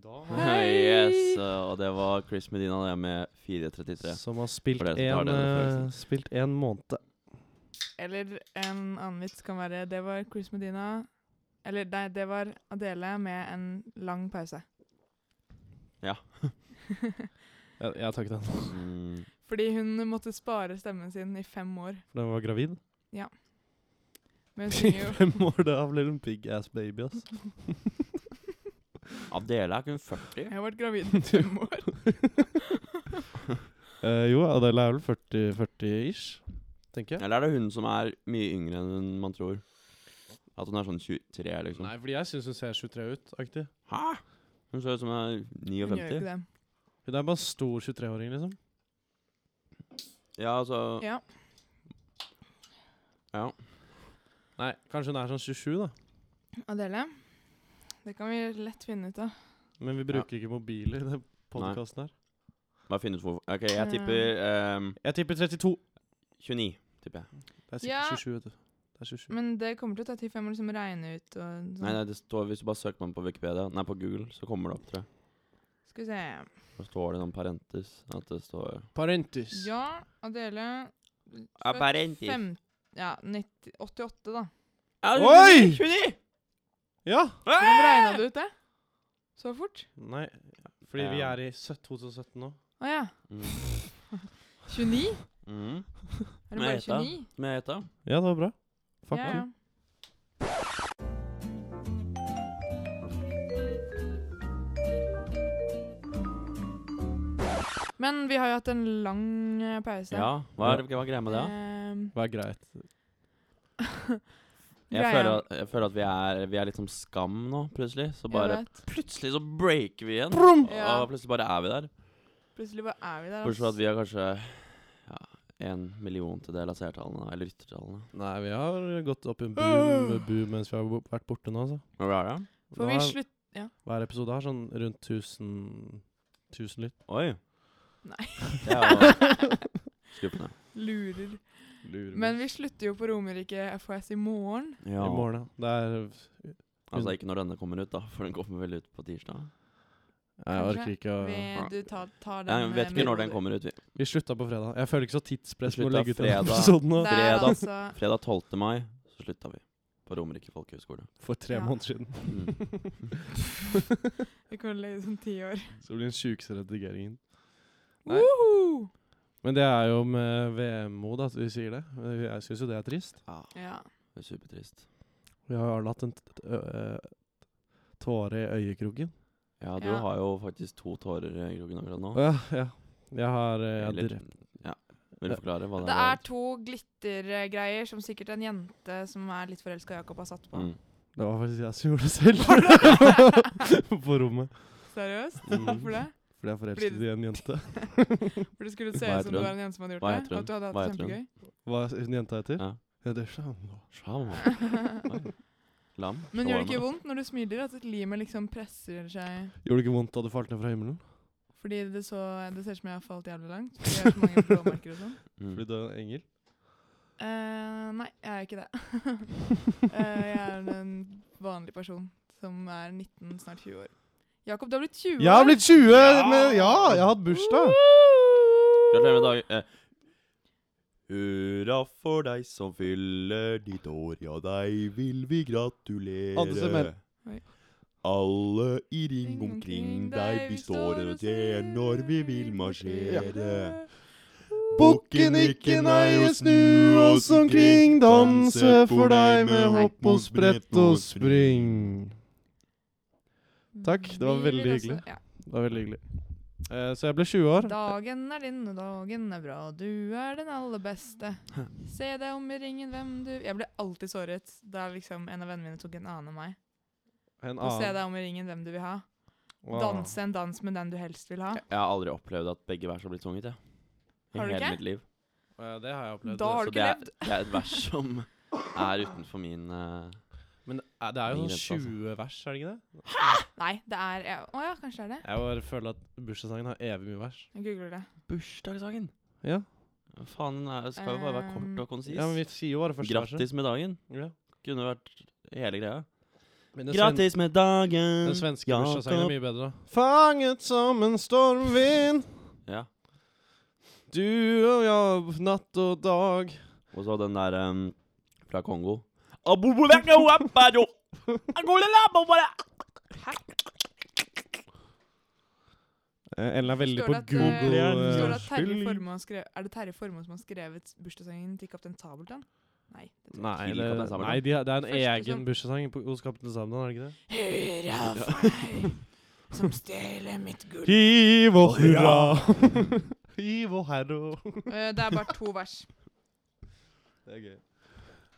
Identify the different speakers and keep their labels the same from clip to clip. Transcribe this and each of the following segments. Speaker 1: Da har
Speaker 2: Hei! yes, uh, og det var Chris Medina det med 4.33.
Speaker 1: Som har spilt
Speaker 2: For det som tar
Speaker 1: en,
Speaker 2: den referansen.
Speaker 1: eh, spilt en måned.
Speaker 3: Eller en annen vits kan være Det var Chris Medina Eller nei, det var Adele med en lang pause.
Speaker 1: Jeg, jeg tar ikke den,
Speaker 2: Mm,
Speaker 3: Fordi hun måtte spare stemmen sin i fem år.
Speaker 1: for den var gravid.
Speaker 3: Men hun
Speaker 1: I
Speaker 3: synger jo
Speaker 1: fem år, det er vel en big ass baby, ass.
Speaker 2: Adele er kun 40.
Speaker 3: Jeg har vært gravid i fem år.
Speaker 1: Eh, jo, Adele er vel 40 40-ish, tenker jeg.
Speaker 2: Eller er det hun som er mye yngre enn man tror? At hun er sånn 23, liksom.
Speaker 1: Nei, fordi jeg syns hun ser 23 ut, aktig.
Speaker 2: Hæ? Hun ser ut som hun er
Speaker 3: Hun gjør
Speaker 2: 59.
Speaker 3: ikke det.
Speaker 1: Hun er bare en stor 23-åring, liksom.
Speaker 2: Ja, altså
Speaker 3: Ja.
Speaker 2: Ja.
Speaker 1: Nei, kanskje hun er sånn 27, da.
Speaker 3: Adele. Det kan vi lett finne ut av.
Speaker 1: Men vi bruker ikke mobiler i den podkasten her.
Speaker 2: Bare finne ut hvor OK,
Speaker 3: Eh.
Speaker 2: jeg tipper ehm,
Speaker 1: Jeg tipper 32.
Speaker 2: 29. tipper jeg.
Speaker 1: Det er sikkert
Speaker 3: Ja.
Speaker 1: 27, vet du. Det er 27.
Speaker 3: Men det kommer til å ta tid før man liksom regner ut og
Speaker 2: Nei,
Speaker 3: sånn.
Speaker 2: nei, det står, hvis du bare søker på den på Wikipedia, nei, på Google, så kommer det opp, tror jeg.
Speaker 3: Skal vi se.
Speaker 2: Så står det noen parentes. At det står
Speaker 1: Parentis.
Speaker 3: Ja, Adele Født
Speaker 2: Apparentis.
Speaker 3: fem, Ja, 90, 88, da.
Speaker 1: Oi!
Speaker 2: 29!
Speaker 1: Ja!
Speaker 3: Hvordan regna du ut det? Så fort?
Speaker 1: Nei, fordi vi
Speaker 2: Ja.
Speaker 1: er i sø- 2017 nå.
Speaker 3: Å ja.
Speaker 2: Mm.
Speaker 3: 29?
Speaker 2: Mm.
Speaker 3: Er det
Speaker 2: Nei,
Speaker 3: bare
Speaker 2: jeg vet da.
Speaker 3: 29?
Speaker 2: Som jeg heter.
Speaker 1: Ja, det var bra. Fuck
Speaker 3: Ja,
Speaker 1: you.
Speaker 3: ja. Men vi har jo hatt en lang eh, pause.
Speaker 2: Ja, hva er, hva er greia med det? da?
Speaker 3: Ehm,
Speaker 1: Hva er greit?
Speaker 2: Jeg
Speaker 3: greia-
Speaker 2: føler, at, jeg føler at vi er, vi er litt som skam nå, plutselig. Så bare
Speaker 3: jeg vet.
Speaker 2: Plutselig så breaker vi igjen.
Speaker 1: Brum!
Speaker 3: Ja.
Speaker 2: Og plutselig bare er vi der.
Speaker 3: Plutselig bare er vi der.
Speaker 2: Bortsett fra
Speaker 3: ass.
Speaker 2: at vi har kanskje ja, en milliontedel av seertallene, eller lyttertallene.
Speaker 1: Nei, vi har gått opp i en boom,
Speaker 3: Øh.
Speaker 1: boom mens vi har bo- vært borte nå, altså.
Speaker 2: Hva er det?
Speaker 3: For vi
Speaker 1: Hver-
Speaker 3: slutt...
Speaker 1: Hver episode har sånn rundt 1000 1000 lytt.
Speaker 2: Oi.
Speaker 3: Nei.
Speaker 2: Det er jo skuffende.
Speaker 3: Lurer.
Speaker 1: Lurer
Speaker 3: Men vi slutter jo på Romerike FHS i morgen.
Speaker 2: Ja.
Speaker 1: I morgen, ja. Det er
Speaker 2: Altså ikke når denne kommer ut, da, for den kommer vel ut på tirsdag.
Speaker 1: Nei, Jeg
Speaker 3: Kanskje
Speaker 1: orker ikke å
Speaker 3: Vi, du tar, tar den
Speaker 2: Jeg vet
Speaker 3: eh,
Speaker 2: ikke når den
Speaker 3: med hodet.
Speaker 2: kommer ut. vi.
Speaker 1: Vi slutta på fredag. Jeg føler ikke så tidspress med å
Speaker 2: Slutta
Speaker 1: legge ut den
Speaker 2: fredag.
Speaker 1: episoden nå.
Speaker 3: Det er
Speaker 2: Fredag.
Speaker 3: altså
Speaker 2: Fredag 12. mai så slutta vi på Romerike folkehøgskole.
Speaker 1: For tre
Speaker 3: Ja.
Speaker 1: måneder siden.
Speaker 2: Mm.
Speaker 3: Vi kommer til å legge det som ti år.
Speaker 1: Så blir den sjukeste redigeringen. Nei.
Speaker 3: Woho!
Speaker 1: Men det er jo med vemod at vi sier det. Jeg syns jo det er trist.
Speaker 2: Ja,
Speaker 3: Ja.
Speaker 2: det er supertrist.
Speaker 1: Vi har jo alle hatt en t- t- ø- ø- tåre i øyekroken.
Speaker 2: Ja, du
Speaker 3: Ja.
Speaker 2: har jo faktisk to tårer i kroken akkurat nå.
Speaker 1: Å ja, ja. Jeg har eh, jeg
Speaker 2: Eller-
Speaker 1: har drept-
Speaker 2: ja. Vil du forklare hva det,
Speaker 3: Det er to glittergreier som sikkert en jente som er litt forelska i Jakob, har satt på.
Speaker 2: Mm.
Speaker 1: Det var faktisk jeg som gjorde det selv. på rommet.
Speaker 3: Seriøst?
Speaker 1: Mm.
Speaker 3: Hvorfor det?
Speaker 1: Fordi jeg er forelsket i en jente.
Speaker 3: For det skulle se
Speaker 2: Hva
Speaker 3: ut
Speaker 2: heter
Speaker 3: som du
Speaker 2: hun?
Speaker 3: var en jente som hadde gjort
Speaker 2: Hva
Speaker 3: det?
Speaker 2: heter
Speaker 3: Og
Speaker 2: hun?
Speaker 3: at du hadde hatt
Speaker 2: Hva
Speaker 3: det
Speaker 2: heter hun?
Speaker 3: kjempegøy?
Speaker 1: Hva hun jenta heter?
Speaker 2: Ja.
Speaker 1: Ja, det er Shamla.
Speaker 2: Sjam. Oi. Lam.
Speaker 3: Men gjør det ikke
Speaker 2: Shawarma.
Speaker 3: vondt når du smiler, at limet liksom presser seg
Speaker 1: Gjorde det ikke vondt da du falt ned fra himmelen?
Speaker 3: Fordi det, så, det ser ut som jeg har falt jævlig langt? Fordi jeg har så mange blåmerker og sånn?
Speaker 1: Fordi
Speaker 2: Mm.
Speaker 1: du er en engel?
Speaker 3: Eh, nei, jeg er ikke det. Eh, jeg er en vanlig person som er 19, snart 20 år. Jakob, du har blitt 20 år!
Speaker 1: Jeg har blitt 20!
Speaker 2: Ja!
Speaker 1: Men ja, jeg har hatt bursdag.
Speaker 2: Gratulerer med dagen. Eh. Hurra for deg som fyller ditt år, ja deg vil vi gratulere.
Speaker 1: Alle stemmer.
Speaker 3: Oi.
Speaker 2: Alle i ring omkring deg, vi står og ser når vi vil marsjere.
Speaker 1: Bukken ikke nei og snu oss omkring, danse for deg med hopp og sprett og spring. Takk, det var
Speaker 3: Vi vil
Speaker 1: veldig
Speaker 3: også-
Speaker 1: hyggelig.
Speaker 3: Ja.
Speaker 1: Det var veldig hyggelig. Eh, så jeg ble 20 år.
Speaker 3: Dagen er din, og dagen er bra. Du er den aller beste. Se deg om i ringen, hvem du Jeg ble alltid såret da liksom en av vennene mine tok en annen enn meg.
Speaker 1: En
Speaker 3: Og se deg om i ringen, hvem du vil ha.
Speaker 1: Ah. Wow.
Speaker 3: Danse en dans med den du helst vil ha.
Speaker 2: Jeg har aldri opplevd at begge vers har blitt sunget, jeg. I
Speaker 3: Har du
Speaker 2: hele
Speaker 3: ikke?
Speaker 2: mitt liv.
Speaker 1: Eh, det har jeg opplevd.
Speaker 3: Da har
Speaker 2: Så
Speaker 3: du
Speaker 2: det
Speaker 3: ikke
Speaker 2: er,
Speaker 3: levd.
Speaker 2: det er et vers som er utenfor min eh,
Speaker 1: Men det er- det er jo
Speaker 2: Min rett,
Speaker 1: sånn
Speaker 2: altså.
Speaker 1: 20 vers, er det ikke det?
Speaker 3: Nei, det er ja, Å ja, kanskje det er det.
Speaker 1: Jeg bare føler at bursdagssangen har evig mye vers.
Speaker 3: Jeg googler det.
Speaker 2: bursdagssangen.
Speaker 1: Ja,
Speaker 2: Faen, den er- skal jo bare være kort og konsis.
Speaker 1: ja men vi sier jo bare første verset.
Speaker 2: Grattis med dagen.
Speaker 1: Ja.
Speaker 2: Kunne vært hele greia.
Speaker 1: Men den, sven
Speaker 2: Gratis med dagen.
Speaker 1: den svenske bursdagssangen
Speaker 2: Jakob.
Speaker 1: er mye bedre. Fanget som en stormvind,
Speaker 2: Ja.
Speaker 1: du og jeg, natt og dag.
Speaker 2: Og så den der em, fra Kongo. Abububakawabajo. Angolelabobara.
Speaker 1: Eh, Ellen er veldig på
Speaker 3: Står det at,
Speaker 1: Google.
Speaker 3: eh,
Speaker 1: eh,
Speaker 3: Står det at Terje
Speaker 1: skyld.
Speaker 3: Formoe har skrevet, er det Terje Formoe som har skrevet bursdagssangen til Kaptein Sabeltann? Nei. det tror jeg
Speaker 1: Nei,
Speaker 2: Tidlig
Speaker 1: det,
Speaker 2: Kaptein Sabeltann.
Speaker 1: nei de, har- det er en
Speaker 3: Første
Speaker 1: egen
Speaker 3: som-
Speaker 1: bursdagssang på- hos Kaptein Sabeltann, er det ikke det?
Speaker 3: Hurra for deg som stjeler mitt gull.
Speaker 1: Hiv og
Speaker 2: hurra.
Speaker 1: Hiv og herro.
Speaker 3: Eh, det er bare to vers.
Speaker 1: Det er gøy.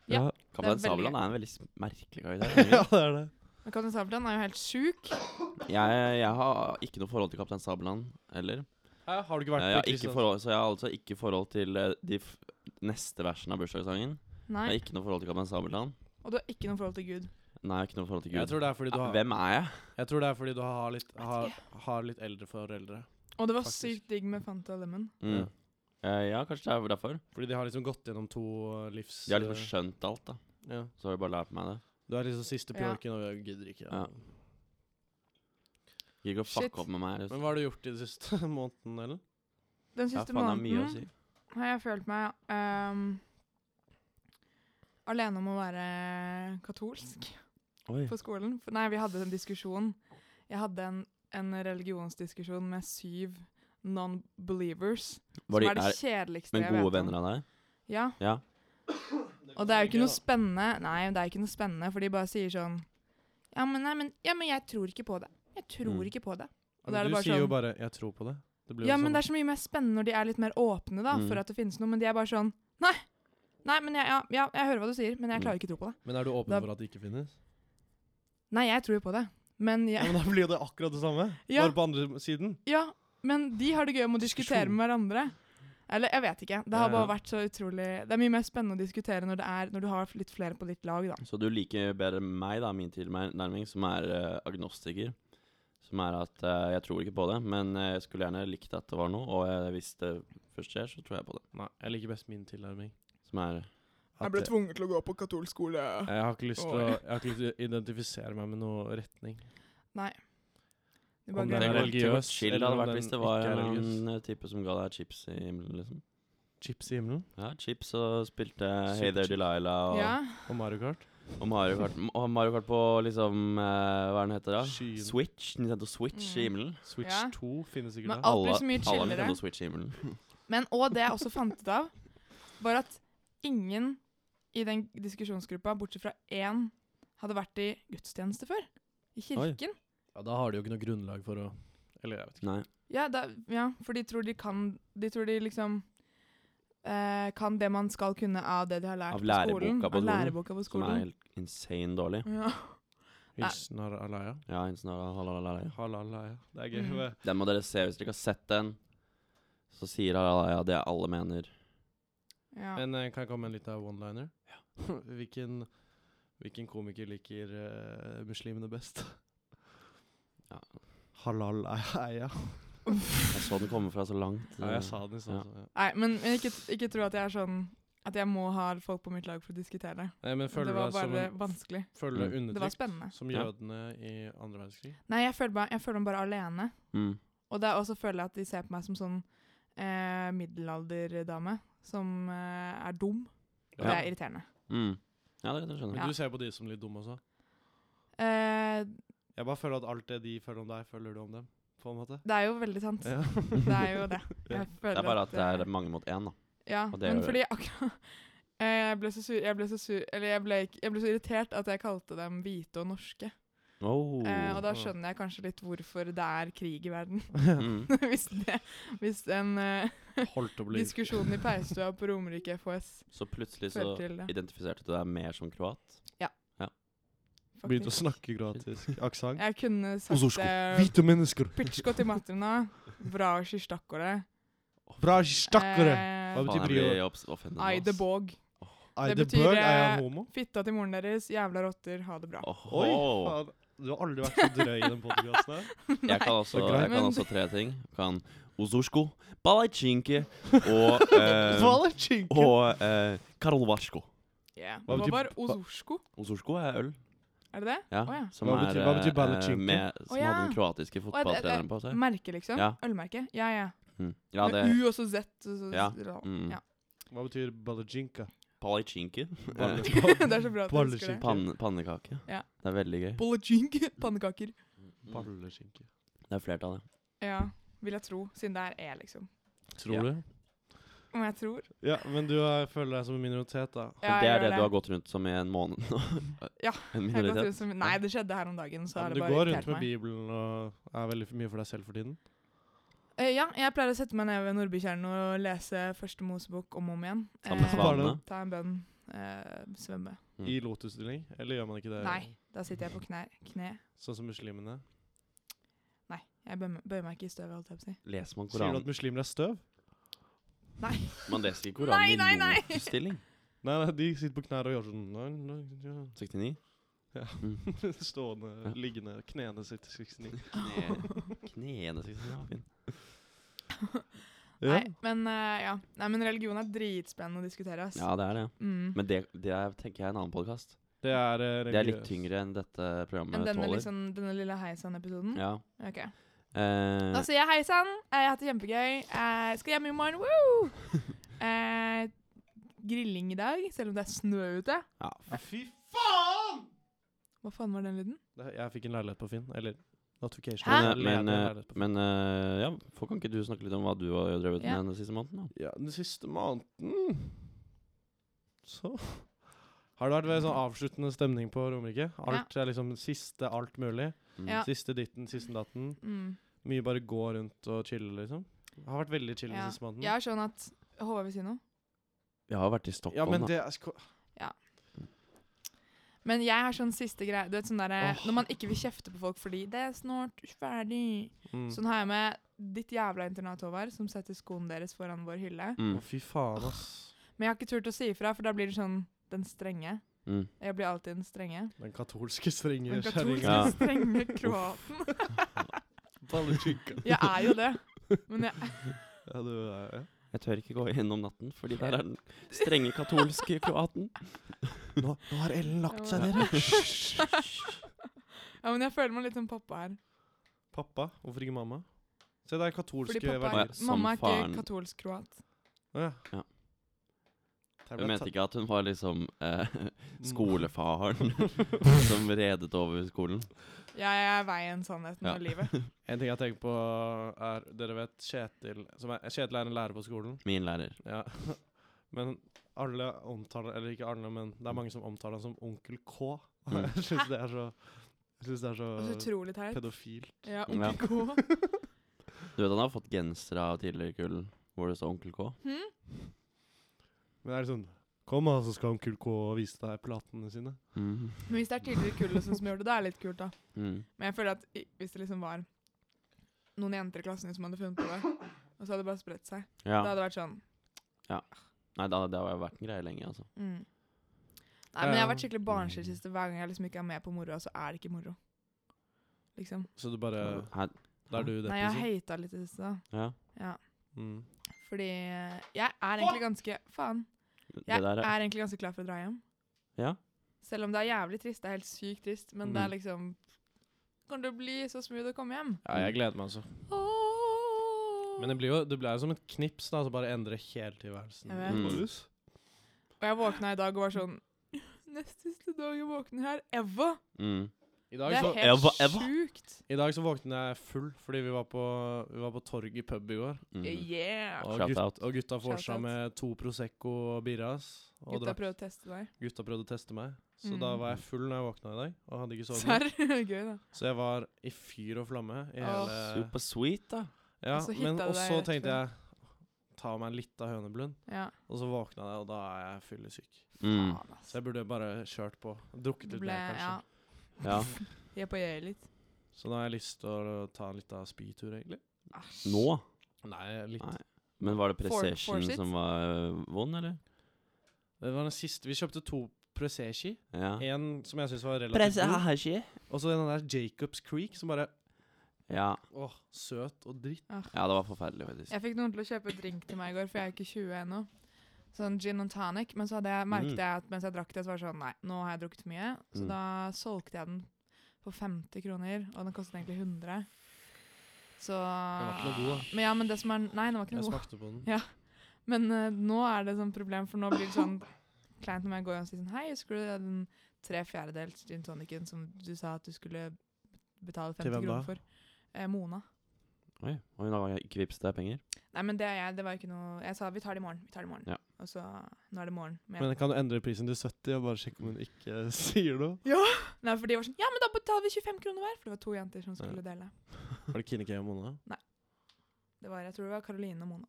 Speaker 3: Ja.
Speaker 1: Ja,
Speaker 2: Kaptein
Speaker 3: veldig
Speaker 2: Sabeltann
Speaker 3: gøy.
Speaker 2: er en veldig s- merkelig
Speaker 1: ja
Speaker 2: karakter.
Speaker 1: det er det.
Speaker 3: Men Kaptein Sabeltann er jo helt sjuk.
Speaker 2: Jeg, jeg har ikke noe forhold til Kaptein Sabeltann heller.
Speaker 1: Hæ, har du ikke
Speaker 2: Eh, Jeg
Speaker 1: vært
Speaker 2: har
Speaker 1: på
Speaker 2: ikke
Speaker 1: Kristiansand?
Speaker 2: forhold, så jeg har altså ikke forhold til eh, de f neste versene av bursdagssangen. Jeg
Speaker 3: Nei.
Speaker 2: har ikke noe forhold til Kaptein Sabeltann.
Speaker 3: Og du har ikke noe forhold til Gud.
Speaker 2: Nei, jeg har ikke noe forhold til
Speaker 1: Jeg
Speaker 2: Gud.
Speaker 1: tror det er fordi du har,
Speaker 2: Hvem er jeg?
Speaker 1: jeg tror det er fordi du har litt, har, har litt eldre foreldre.
Speaker 3: Og det var
Speaker 1: Faktisk.
Speaker 3: sykt digg med Fanta Lemon.
Speaker 2: Mm. Eh, ja, kanskje det er derfor.
Speaker 1: Fordi de har liksom gått gjennom to eh, livs...
Speaker 2: De har
Speaker 1: eh,
Speaker 2: liksom skjønt alt, da.
Speaker 1: ja.
Speaker 2: Så har de bare lært meg det.
Speaker 1: Du er liksom siste
Speaker 3: Ja.
Speaker 1: pjolken, og jeg gidder ikke.
Speaker 2: Ja. Gidder ikke å
Speaker 3: Shit.
Speaker 2: fucke opp med meg.
Speaker 1: Men
Speaker 2: Liksom.
Speaker 1: hva har du gjort i den siste måneden, Ellen?
Speaker 3: Den
Speaker 2: Ja,
Speaker 3: siste
Speaker 2: faen, det er mye å
Speaker 3: måneden
Speaker 2: si.
Speaker 3: har jeg følt meg ehm, alene om å være katolsk
Speaker 2: Oi.
Speaker 3: på skolen. For- Nei, vi hadde en diskusjon. Jeg hadde en, en religionsdiskusjon med syv non-believers.
Speaker 2: Var
Speaker 3: som
Speaker 2: de,
Speaker 3: er det
Speaker 2: er,
Speaker 3: kjedeligste
Speaker 2: men
Speaker 3: jeg
Speaker 2: gode
Speaker 3: vet om.
Speaker 2: venner av deg?
Speaker 3: Ja.
Speaker 2: Ja.
Speaker 3: Og det er jo ikke noe spennende. Nei, det er ikke noe spennende, for de bare sier sånn Ja, men, nei, men, ja, men jeg tror ikke på det. Jeg tror
Speaker 2: Mm.
Speaker 3: ikke på det. Og da er
Speaker 1: Men
Speaker 3: det
Speaker 1: Du
Speaker 3: bare
Speaker 1: sier jo
Speaker 3: sånn-
Speaker 1: bare 'jeg tror på det'. Det blir jo sånn-
Speaker 3: Ja,
Speaker 1: det
Speaker 3: men
Speaker 1: samme.
Speaker 3: det er så mye mer spennende når de er litt mer åpne da,
Speaker 2: sånn? Mm.
Speaker 3: for at det finnes noe, men de er bare sånn Nei, nei, men jeg, ja, ja, jeg hører hva du sier, men jeg
Speaker 2: Mm.
Speaker 3: klarer ikke å tro på det.
Speaker 1: Men er du åpen
Speaker 3: Da-
Speaker 1: for at det ikke finnes?
Speaker 3: Nei, jeg tror jo på det, men
Speaker 1: Ja,
Speaker 3: jeg
Speaker 1: men Da blir jo det akkurat det samme.
Speaker 3: Ja.
Speaker 1: Bare på andre siden.
Speaker 3: Ja, men de har det gøy om å diskutere
Speaker 1: Diskusjon.
Speaker 3: med hverandre. Eller jeg vet ikke. Det
Speaker 1: Ja,
Speaker 3: har bare
Speaker 1: ja.
Speaker 3: vært så utrolig Det er mye mer spennende å diskutere når, det er, når du har litt flere på ditt lag, da.
Speaker 2: Så du liker bedre meg, da, min tilnærming, som er eh, agnostiker. Som er at eh, jeg tror ikke på det, men eh, jeg skulle gjerne likt at det var noe. Og eh, hvis det først skjer, så tror jeg på det.
Speaker 1: Nei, jeg liker best min tilnærming.
Speaker 2: Som er
Speaker 1: At jeg,
Speaker 3: tvunget til å gå på katolsk skole.
Speaker 1: jeg har ikke lyst til å
Speaker 3: Oi.
Speaker 1: Jeg har ikke lyst til å identifisere meg med noe retning.
Speaker 3: Du
Speaker 1: Om
Speaker 3: bare
Speaker 1: den er
Speaker 3: glemmer det.
Speaker 1: religiøs,
Speaker 2: Tenk hvor chill det
Speaker 1: eller om
Speaker 2: hadde vært
Speaker 1: den
Speaker 2: hvis det var
Speaker 1: ikke er
Speaker 2: en
Speaker 1: religiøs.
Speaker 2: eh, type som ga deg chips i himmelen, liksom.
Speaker 1: Chips i himmelen
Speaker 2: Ja, chips og spilte Hey There
Speaker 1: Superchips.
Speaker 2: Delilah og,
Speaker 3: Ja.
Speaker 1: og Mario Kart.
Speaker 2: og Mario Kart. M- Og Mario Kart på liksom eh, Hva er den heter da?
Speaker 1: Skyen.
Speaker 2: Switch? Nintendo Switch i
Speaker 3: Mm.
Speaker 2: himmelen?
Speaker 1: Switch
Speaker 3: Ja.
Speaker 1: 2 finnes ikke
Speaker 3: Men
Speaker 1: der.
Speaker 3: alt blir
Speaker 2: Alle,
Speaker 3: så mye
Speaker 2: alle har
Speaker 3: chillere.
Speaker 2: Nintendo Switch i himmelen.
Speaker 3: Men og det jeg også fant ut av, var at ingen i den diskusjonsgruppa, bortsett fra én, hadde vært i gudstjeneste før.
Speaker 2: Oi.
Speaker 3: I kirken.
Speaker 1: Ja, da har de jo ikke noe grunnlag for å Eller jeg vet ikke.
Speaker 2: Nei.
Speaker 3: Ja, da, ja, for de tror de kan De tror de liksom eh, kan det man skal kunne av det de har lært
Speaker 2: Av
Speaker 3: på skolen.
Speaker 2: læreboka på skolen,
Speaker 3: Av læreboka på
Speaker 2: Som er
Speaker 3: skolen.
Speaker 2: helt insane dårlig.
Speaker 3: Ja. Nei.
Speaker 1: Hilsen Har- Alaya.
Speaker 2: Ja, insane, halalala.
Speaker 1: Halalaya. Det er gøy.
Speaker 3: Mm.
Speaker 2: Den må dere se hvis dere ikke har sett den. Så sier Halalaya det alle mener.
Speaker 3: Ja.
Speaker 1: Men eh, kan jeg komme med en liten one-liner? hvilken, hvilken komiker liker eh, muslimene best?
Speaker 2: Ja.
Speaker 1: Halal-eia.
Speaker 2: Jeg så den komme fra så langt.
Speaker 1: Ja, jeg sa den i stad.
Speaker 2: Ja.
Speaker 1: så, Ja.
Speaker 3: Nei, men ikke, ikke tro at jeg er sånn At jeg må ha folk på mitt lag for å diskutere det.
Speaker 1: Nei, men føler
Speaker 3: Det
Speaker 1: du
Speaker 3: var
Speaker 1: deg som
Speaker 3: bare
Speaker 1: en,
Speaker 3: vanskelig.
Speaker 1: føler du deg
Speaker 3: Det var
Speaker 1: undertrykt?
Speaker 3: spennende.
Speaker 1: Som
Speaker 2: Ja.
Speaker 1: jødene i andre verdenskrig?
Speaker 3: Nei, jeg føler meg, jeg føler meg bare alene.
Speaker 2: Mm.
Speaker 3: Og det er også føler jeg at de ser på meg som sånn eh, middelalderdame som eh, er dum. Og det
Speaker 2: Ja.
Speaker 3: er irriterende.
Speaker 2: Mm. Ja, det, det skjønner
Speaker 1: Men
Speaker 2: jeg.
Speaker 1: du ser på de som litt dumme også?
Speaker 3: Eh,
Speaker 1: Jeg bare føler at alt det de føler om deg, føler du om dem. På en måte.
Speaker 3: det er jo veldig sant.
Speaker 1: Ja.
Speaker 3: Det er jo det.
Speaker 1: Ja.
Speaker 3: Jeg føler
Speaker 2: Det er bare at det
Speaker 3: eh,
Speaker 2: er mange mot én, da.
Speaker 3: Ja,
Speaker 2: og det
Speaker 3: men
Speaker 2: gjør
Speaker 3: fordi akkurat Eh, jeg ble så sur, jeg ble så sur Eller jeg ble, ikke- jeg ble så irritert at jeg kalte dem hvite og norske.
Speaker 2: Oh.
Speaker 3: Eh, og da
Speaker 1: Ah.
Speaker 3: skjønner jeg kanskje litt hvorfor det er krig i verden.
Speaker 2: Mm.
Speaker 3: hvis, det, hvis en eh,
Speaker 1: Holdt å bli
Speaker 3: diskusjon i peistua på Romerike FHS
Speaker 2: Så plutselig så
Speaker 3: fører til det.
Speaker 2: identifiserte du deg mer som kroat.
Speaker 1: Begynte å
Speaker 3: faktisk.
Speaker 1: snakke kroatisk aksent.
Speaker 3: Jeg kunne sagt eh,
Speaker 1: Ozosko.
Speaker 3: det.
Speaker 1: Hvite mennesker!
Speaker 3: Pitsko til matrina, vrasji stakkore.
Speaker 1: Bra stakkare!
Speaker 3: Eh,
Speaker 1: Hva betyr
Speaker 2: Faen, jeg
Speaker 1: brio?
Speaker 2: blir obs- offended nå,
Speaker 3: Ai de
Speaker 2: ass.
Speaker 3: bog.
Speaker 1: Eide
Speaker 3: betyr,
Speaker 1: Berg, er
Speaker 3: eh,
Speaker 1: han homo?
Speaker 3: Fitta til moren deres, jævla rotter, ha det bra.
Speaker 2: Åhå.
Speaker 1: Oi, faen. Du har aldri vært så drøy i den podkasten her.
Speaker 2: Jeg kan også,
Speaker 1: Så greit.
Speaker 2: jeg kan
Speaker 3: Men-
Speaker 2: også tre ting. Jeg kan ozorsko, balajinke og eh,
Speaker 1: Hva er chinken?
Speaker 2: Og eh, karolvasko.
Speaker 3: Yeah.
Speaker 1: Hva
Speaker 3: Hva
Speaker 1: betyr
Speaker 3: var
Speaker 1: ba-
Speaker 3: ozorsko?
Speaker 2: Ozorsko er øl.
Speaker 3: Er det det?
Speaker 2: Ja,
Speaker 3: Å, ja.
Speaker 2: Som
Speaker 1: Hva
Speaker 2: er
Speaker 1: betyr- hva betyr
Speaker 2: eh,
Speaker 1: balacinka?
Speaker 2: Med, som
Speaker 3: Å, ja.
Speaker 2: hadde den kroatiske
Speaker 3: Å, ja, det- det-
Speaker 2: fotballtreneren på seg.
Speaker 3: Merke, liksom?
Speaker 2: Ja.
Speaker 3: Ølmerke? Ja, ja.
Speaker 2: Mm. Ja, det
Speaker 3: Med U og så Z. Og så,
Speaker 2: Ja.
Speaker 3: ra-
Speaker 2: Mm.
Speaker 3: ja.
Speaker 1: Hva betyr balacinka?
Speaker 2: Palacinki.
Speaker 1: Balle-
Speaker 3: det er så bra at du husker
Speaker 1: Balleskinke.
Speaker 3: det.
Speaker 2: Panne, pannekake.
Speaker 3: Ja.
Speaker 2: Det er veldig gøy.
Speaker 3: Bollegjink. Pannekaker.
Speaker 2: Mm.
Speaker 1: Balleskinke.
Speaker 2: Det er flertallet.
Speaker 3: Ja, vil jeg tro. Siden det er E, liksom.
Speaker 1: Tror
Speaker 2: Ja.
Speaker 1: du?
Speaker 3: Om jeg tror.
Speaker 1: Ja, men du er, føler deg som en minoritet, da.
Speaker 2: Men
Speaker 3: Ja,
Speaker 2: det
Speaker 3: jeg
Speaker 2: er det
Speaker 3: gjør
Speaker 2: du har gått rundt som i en måned nå.
Speaker 3: Ja,
Speaker 2: En
Speaker 3: Jeg har gått
Speaker 2: minoritet.
Speaker 3: rundt som, nei, det skjedde her om dagen. Så
Speaker 1: Ja,
Speaker 3: har
Speaker 1: men du
Speaker 3: det bare
Speaker 1: går rundt
Speaker 3: irritert
Speaker 1: med
Speaker 3: meg.
Speaker 1: Bibelen og er veldig for mye for deg selv for tiden?
Speaker 3: Eh, ja, jeg pleier å sette meg ned ved Nordbykjernen og lese Første Mosebok om og om igjen.
Speaker 2: Sammen med
Speaker 1: Eh,
Speaker 2: svanene.
Speaker 1: barna.
Speaker 3: ta en bønn, eh, svømme.
Speaker 2: Mm.
Speaker 1: I lotusstilling? Eller gjør man ikke det?
Speaker 3: Nei, da sitter jeg på kne. kne.
Speaker 1: Sånn som muslimene?
Speaker 3: Nei, jeg bøyer bøyer meg ikke i støvet, holdt jeg på å si.
Speaker 2: Leser man
Speaker 1: Sier du
Speaker 2: Koranen?
Speaker 1: at muslimer er støv?
Speaker 2: Man leser ikke
Speaker 3: Nei,
Speaker 2: Koranen
Speaker 3: nei,
Speaker 2: i
Speaker 3: nei.
Speaker 2: lotusstilling.
Speaker 1: Nei, nei, de sitter på knær og gjør sånn nei, nei, ja.
Speaker 2: 69.
Speaker 1: Stående,
Speaker 2: Ja.
Speaker 1: liggende, knene sitter 69.
Speaker 2: Kne, knene 69. Ja, fin.
Speaker 1: Ja.
Speaker 3: Nei, men, eh, ja. nei, men religion er dritspennende å diskutere. Ass.
Speaker 2: ja, det er det.
Speaker 3: Mm.
Speaker 2: Men det, det er, tenker jeg er en annen podkast.
Speaker 1: Det er eh,
Speaker 2: Det er litt
Speaker 1: religiøst.
Speaker 2: tyngre enn dette programmet
Speaker 3: Enn denne,
Speaker 2: tåler.
Speaker 3: liksom, denne lille heisann-episoden?
Speaker 2: Ja.
Speaker 3: Ok.
Speaker 2: Eh,
Speaker 3: Da sier jeg hei sann, jeg har hatt det kjempegøy. Jeg skal hjem i morgen. Woo! Eh, grilling i dag, selv om det er snø ute.
Speaker 2: ja.
Speaker 1: Ja, Fy faen!
Speaker 3: Hva faen var den lyden?
Speaker 1: Det, jeg fikk en leilighet på Finn. Eller notification.
Speaker 3: Hæ?
Speaker 1: Jeg
Speaker 2: Men,
Speaker 1: leide en
Speaker 2: men, eh,
Speaker 1: leilighet på Finn.
Speaker 2: men eh, ja, for kan ikke du snakke litt om hva du har drevet
Speaker 3: Ja.
Speaker 2: med den siste måneden? da?
Speaker 1: Ja, den siste måneden Så Har det vært veldig sånn avsluttende stemning på Romerike? Alt er liksom siste alt mulig.
Speaker 2: Mm.
Speaker 3: Ja.
Speaker 1: Siste ditten, siste datten.
Speaker 3: Mm.
Speaker 1: Mye bare gå rundt og chille, liksom. Det har vært veldig chill den
Speaker 3: Ja.
Speaker 1: siste måneden.
Speaker 3: Jeg er sånn at Håvard vil si noe.
Speaker 2: Jeg har vært i
Speaker 1: Ja,
Speaker 2: Stockholm,
Speaker 1: men
Speaker 2: da.
Speaker 1: det er sko-
Speaker 3: Men jeg har sånn siste greie Du vet sånn derre
Speaker 1: Åh.
Speaker 3: Når man ikke vil kjefte på folk fordi 'Det er snart ferdig'.
Speaker 1: mm.
Speaker 3: Sånn har jeg med ditt jævla internat, Håvard, som setter skoene deres foran vår
Speaker 1: Å,
Speaker 3: hylle.
Speaker 2: Mm.
Speaker 1: fy faen, ass.
Speaker 3: Men jeg har ikke turt å si ifra, for da blir det sånn den strenge.
Speaker 2: Mm.
Speaker 3: Jeg blir alltid den strenge.
Speaker 1: Den katolske strenge
Speaker 3: Den
Speaker 1: kjerringa.
Speaker 2: Ja.
Speaker 3: katolske strenge kroaten.
Speaker 1: Ballekikka.
Speaker 3: Jeg er jo det. Men jeg
Speaker 1: Ja, du er ja.
Speaker 2: Jeg tør ikke gå inn om natten, fordi der er den strenge katolske kroaten.
Speaker 1: nå, nå har Ellen lagt seg,
Speaker 3: Ja.
Speaker 1: dere.
Speaker 3: Ja, men jeg føler meg litt som pappa her.
Speaker 1: Pappa? Hvorfor ikke mamma? Se, det er katolske
Speaker 3: Fordi pappa
Speaker 2: Å ja,
Speaker 3: er,
Speaker 1: verdier.
Speaker 2: som
Speaker 3: mamma er ikke
Speaker 2: faren.
Speaker 3: katolsk kroat.
Speaker 1: Å, ja.
Speaker 2: Ja.
Speaker 1: Der
Speaker 2: Jeg
Speaker 1: ble
Speaker 2: mente
Speaker 1: tatt-
Speaker 2: ikke at hun var liksom eh,
Speaker 1: Mm.
Speaker 2: skolefaren som redet over skolen.
Speaker 3: Jeg er veien, sannheten
Speaker 2: Ja.
Speaker 3: og livet.
Speaker 1: En ting jeg tenker på er Dere vet Kjetil som er, Kjetil er en lærer på skolen.
Speaker 2: Min lærer.
Speaker 1: Ja. Men alle omtaler Eller ikke alle, men det er mange som omtaler han som Onkel K. Og
Speaker 2: Mm.
Speaker 1: jeg syns det er så Jeg synes det er
Speaker 3: Og så
Speaker 1: så
Speaker 3: utrolig teit.
Speaker 1: pedofilt.
Speaker 3: Ja,
Speaker 2: Altså, Ja.
Speaker 3: onkel K.
Speaker 2: Du vet han har fått genser av tidligere kull hvor det står Onkel K?
Speaker 3: Hm?
Speaker 1: Men det er litt sånn Kom, da, så skal Onkel K vise deg platene sine.
Speaker 2: Mm.
Speaker 3: Men hvis det er tidligere kull og sånn som gjør det, det er litt kult, da.
Speaker 2: Mm.
Speaker 3: Men jeg føler at i- hvis det liksom var noen jenter i klassen din som hadde funnet på det, og så hadde det bare spredt seg,
Speaker 2: Ja.
Speaker 3: da hadde det vært sånn
Speaker 2: Nei, da, det har jo vært en greie lenge, altså.
Speaker 3: mm. Nei, men jeg har vært
Speaker 1: Ja.
Speaker 3: skikkelig barnslig siste hver gang jeg liksom ikke er med på moroa, så er det ikke moro. Liksom.
Speaker 1: Så du bare
Speaker 2: Her,
Speaker 1: Da er du
Speaker 3: Nei, jeg har
Speaker 1: depressiv.
Speaker 3: hata litt i det siste, da.
Speaker 2: ja.
Speaker 3: Ja.
Speaker 1: Mm.
Speaker 3: Fordi jeg er egentlig ganske Faen.
Speaker 2: Det
Speaker 3: Jeg
Speaker 2: der
Speaker 3: er
Speaker 2: er
Speaker 3: egentlig ganske klar for å dra hjem.
Speaker 2: Ja.
Speaker 3: Selv om det er jævlig trist. Det er helt sykt trist, men det
Speaker 2: Mm.
Speaker 3: er liksom Kan det bli så smooth å komme hjem?
Speaker 1: Ja, jeg gleder meg, altså.
Speaker 3: Åh.
Speaker 1: Men det blir jo det blir jo som et knips, da. Så bare endre hele tilværelsen.
Speaker 3: Jeg
Speaker 2: vet. Mm.
Speaker 1: Rus.
Speaker 3: Og jeg våkna i dag og var sånn Nest siste dag jeg våkner her. Eva!
Speaker 2: mm.
Speaker 1: I
Speaker 3: Det
Speaker 1: dag
Speaker 3: er
Speaker 1: så
Speaker 3: helt
Speaker 2: Eva, Eva.
Speaker 3: sjukt.
Speaker 1: I dag så våknet jeg full fordi vi var på, vi var på torg i pub i går.
Speaker 2: Mm.
Speaker 3: Yeah!
Speaker 1: Og,
Speaker 2: Shout
Speaker 1: gut,
Speaker 2: out.
Speaker 1: og gutta får seg
Speaker 3: Shout out.
Speaker 1: med to Prosecco og Birras. Og
Speaker 3: Gutta
Speaker 1: drakk-
Speaker 3: prøvde å teste deg.
Speaker 1: gutta prøvde å teste meg. Så
Speaker 3: Mm.
Speaker 1: da var jeg full når jeg våkna i dag. Og hadde ikke sovet.
Speaker 3: Serr? Gøy, da.
Speaker 1: nok. Så jeg var i fyr og flamme i
Speaker 3: Åh.
Speaker 1: hele
Speaker 2: Super sweet, da.
Speaker 1: Ja,
Speaker 3: Og så
Speaker 1: men
Speaker 3: hittet du
Speaker 1: Og
Speaker 3: deg
Speaker 1: så
Speaker 3: rett
Speaker 1: tenkte jeg ta meg litt av høneblund.
Speaker 3: Ja.
Speaker 1: Og så våkna jeg, og da er jeg fyllesyk.
Speaker 2: Mm.
Speaker 3: Faen, ass.
Speaker 1: Så jeg burde bare kjørt på. Drukket
Speaker 3: Det
Speaker 1: ut
Speaker 3: altså. ble
Speaker 1: mer, kanskje.
Speaker 3: Ja.
Speaker 2: Ja.
Speaker 3: Jeg på jeg litt.
Speaker 1: Så nå har jeg lyst til å ta en liten spytur, egentlig.
Speaker 3: Æsj.
Speaker 2: Nå?
Speaker 1: Nei, litt.
Speaker 2: Nei. Men var det
Speaker 3: For-
Speaker 2: presession
Speaker 3: forsitt?
Speaker 2: som var øh, vond, eller?
Speaker 1: Det var den siste Vi kjøpte to Presegi.
Speaker 2: Ja.
Speaker 1: En som jeg syns var relativt god. Og så den der Jacobs Creek, som bare
Speaker 2: Ja.
Speaker 1: Åh, søt og dritt.
Speaker 2: ja, det var forferdelig, faktisk.
Speaker 3: Jeg fikk noen til å kjøpe drink til meg i går, for jeg er ikke 20 ennå. Sånn gin and tonic. Men så hadde jeg, merket
Speaker 2: Mm.
Speaker 3: jeg at mens jeg drakk det, så var det sånn Nei, nå har jeg drukket mye. Så
Speaker 2: Mm.
Speaker 3: da solgte jeg den for 50 kroner, og den kostet egentlig 100. Så
Speaker 1: Den var ikke noe god, da.
Speaker 3: Men ja, men det som er Nei, den var ikke
Speaker 1: Jeg
Speaker 3: noe god.
Speaker 1: smakte på den.
Speaker 3: Ja. Men eh, nå er det sånn problem, for nå blir det sånn kleint når jeg går og sier sånn Hei, husker du den tre fjerdedels gin tonicen som du sa at du skulle betale
Speaker 1: Til
Speaker 3: 50
Speaker 1: hvem da?
Speaker 3: kroner for? Eh, Mona.
Speaker 2: Oi, oi, nå har jeg ikke vippset deg penger.
Speaker 3: Nei, men det, er jeg, det var ikke noe Jeg sa vi tar det i morgen. Vi tar det i morgen.
Speaker 2: Ja.
Speaker 3: Og så Nå er det morgen. Men jeg-
Speaker 1: Men kan du endre prisen til 70 og bare sjekke om hun ikke sier noe?
Speaker 3: Nei, for de var sånn Ja, men da betaler vi 25 kroner hver! For det var to jenter som skulle dele.
Speaker 1: Var det Kinnikei og Mona?
Speaker 3: Det var, Jeg tror det var Caroline og Mona.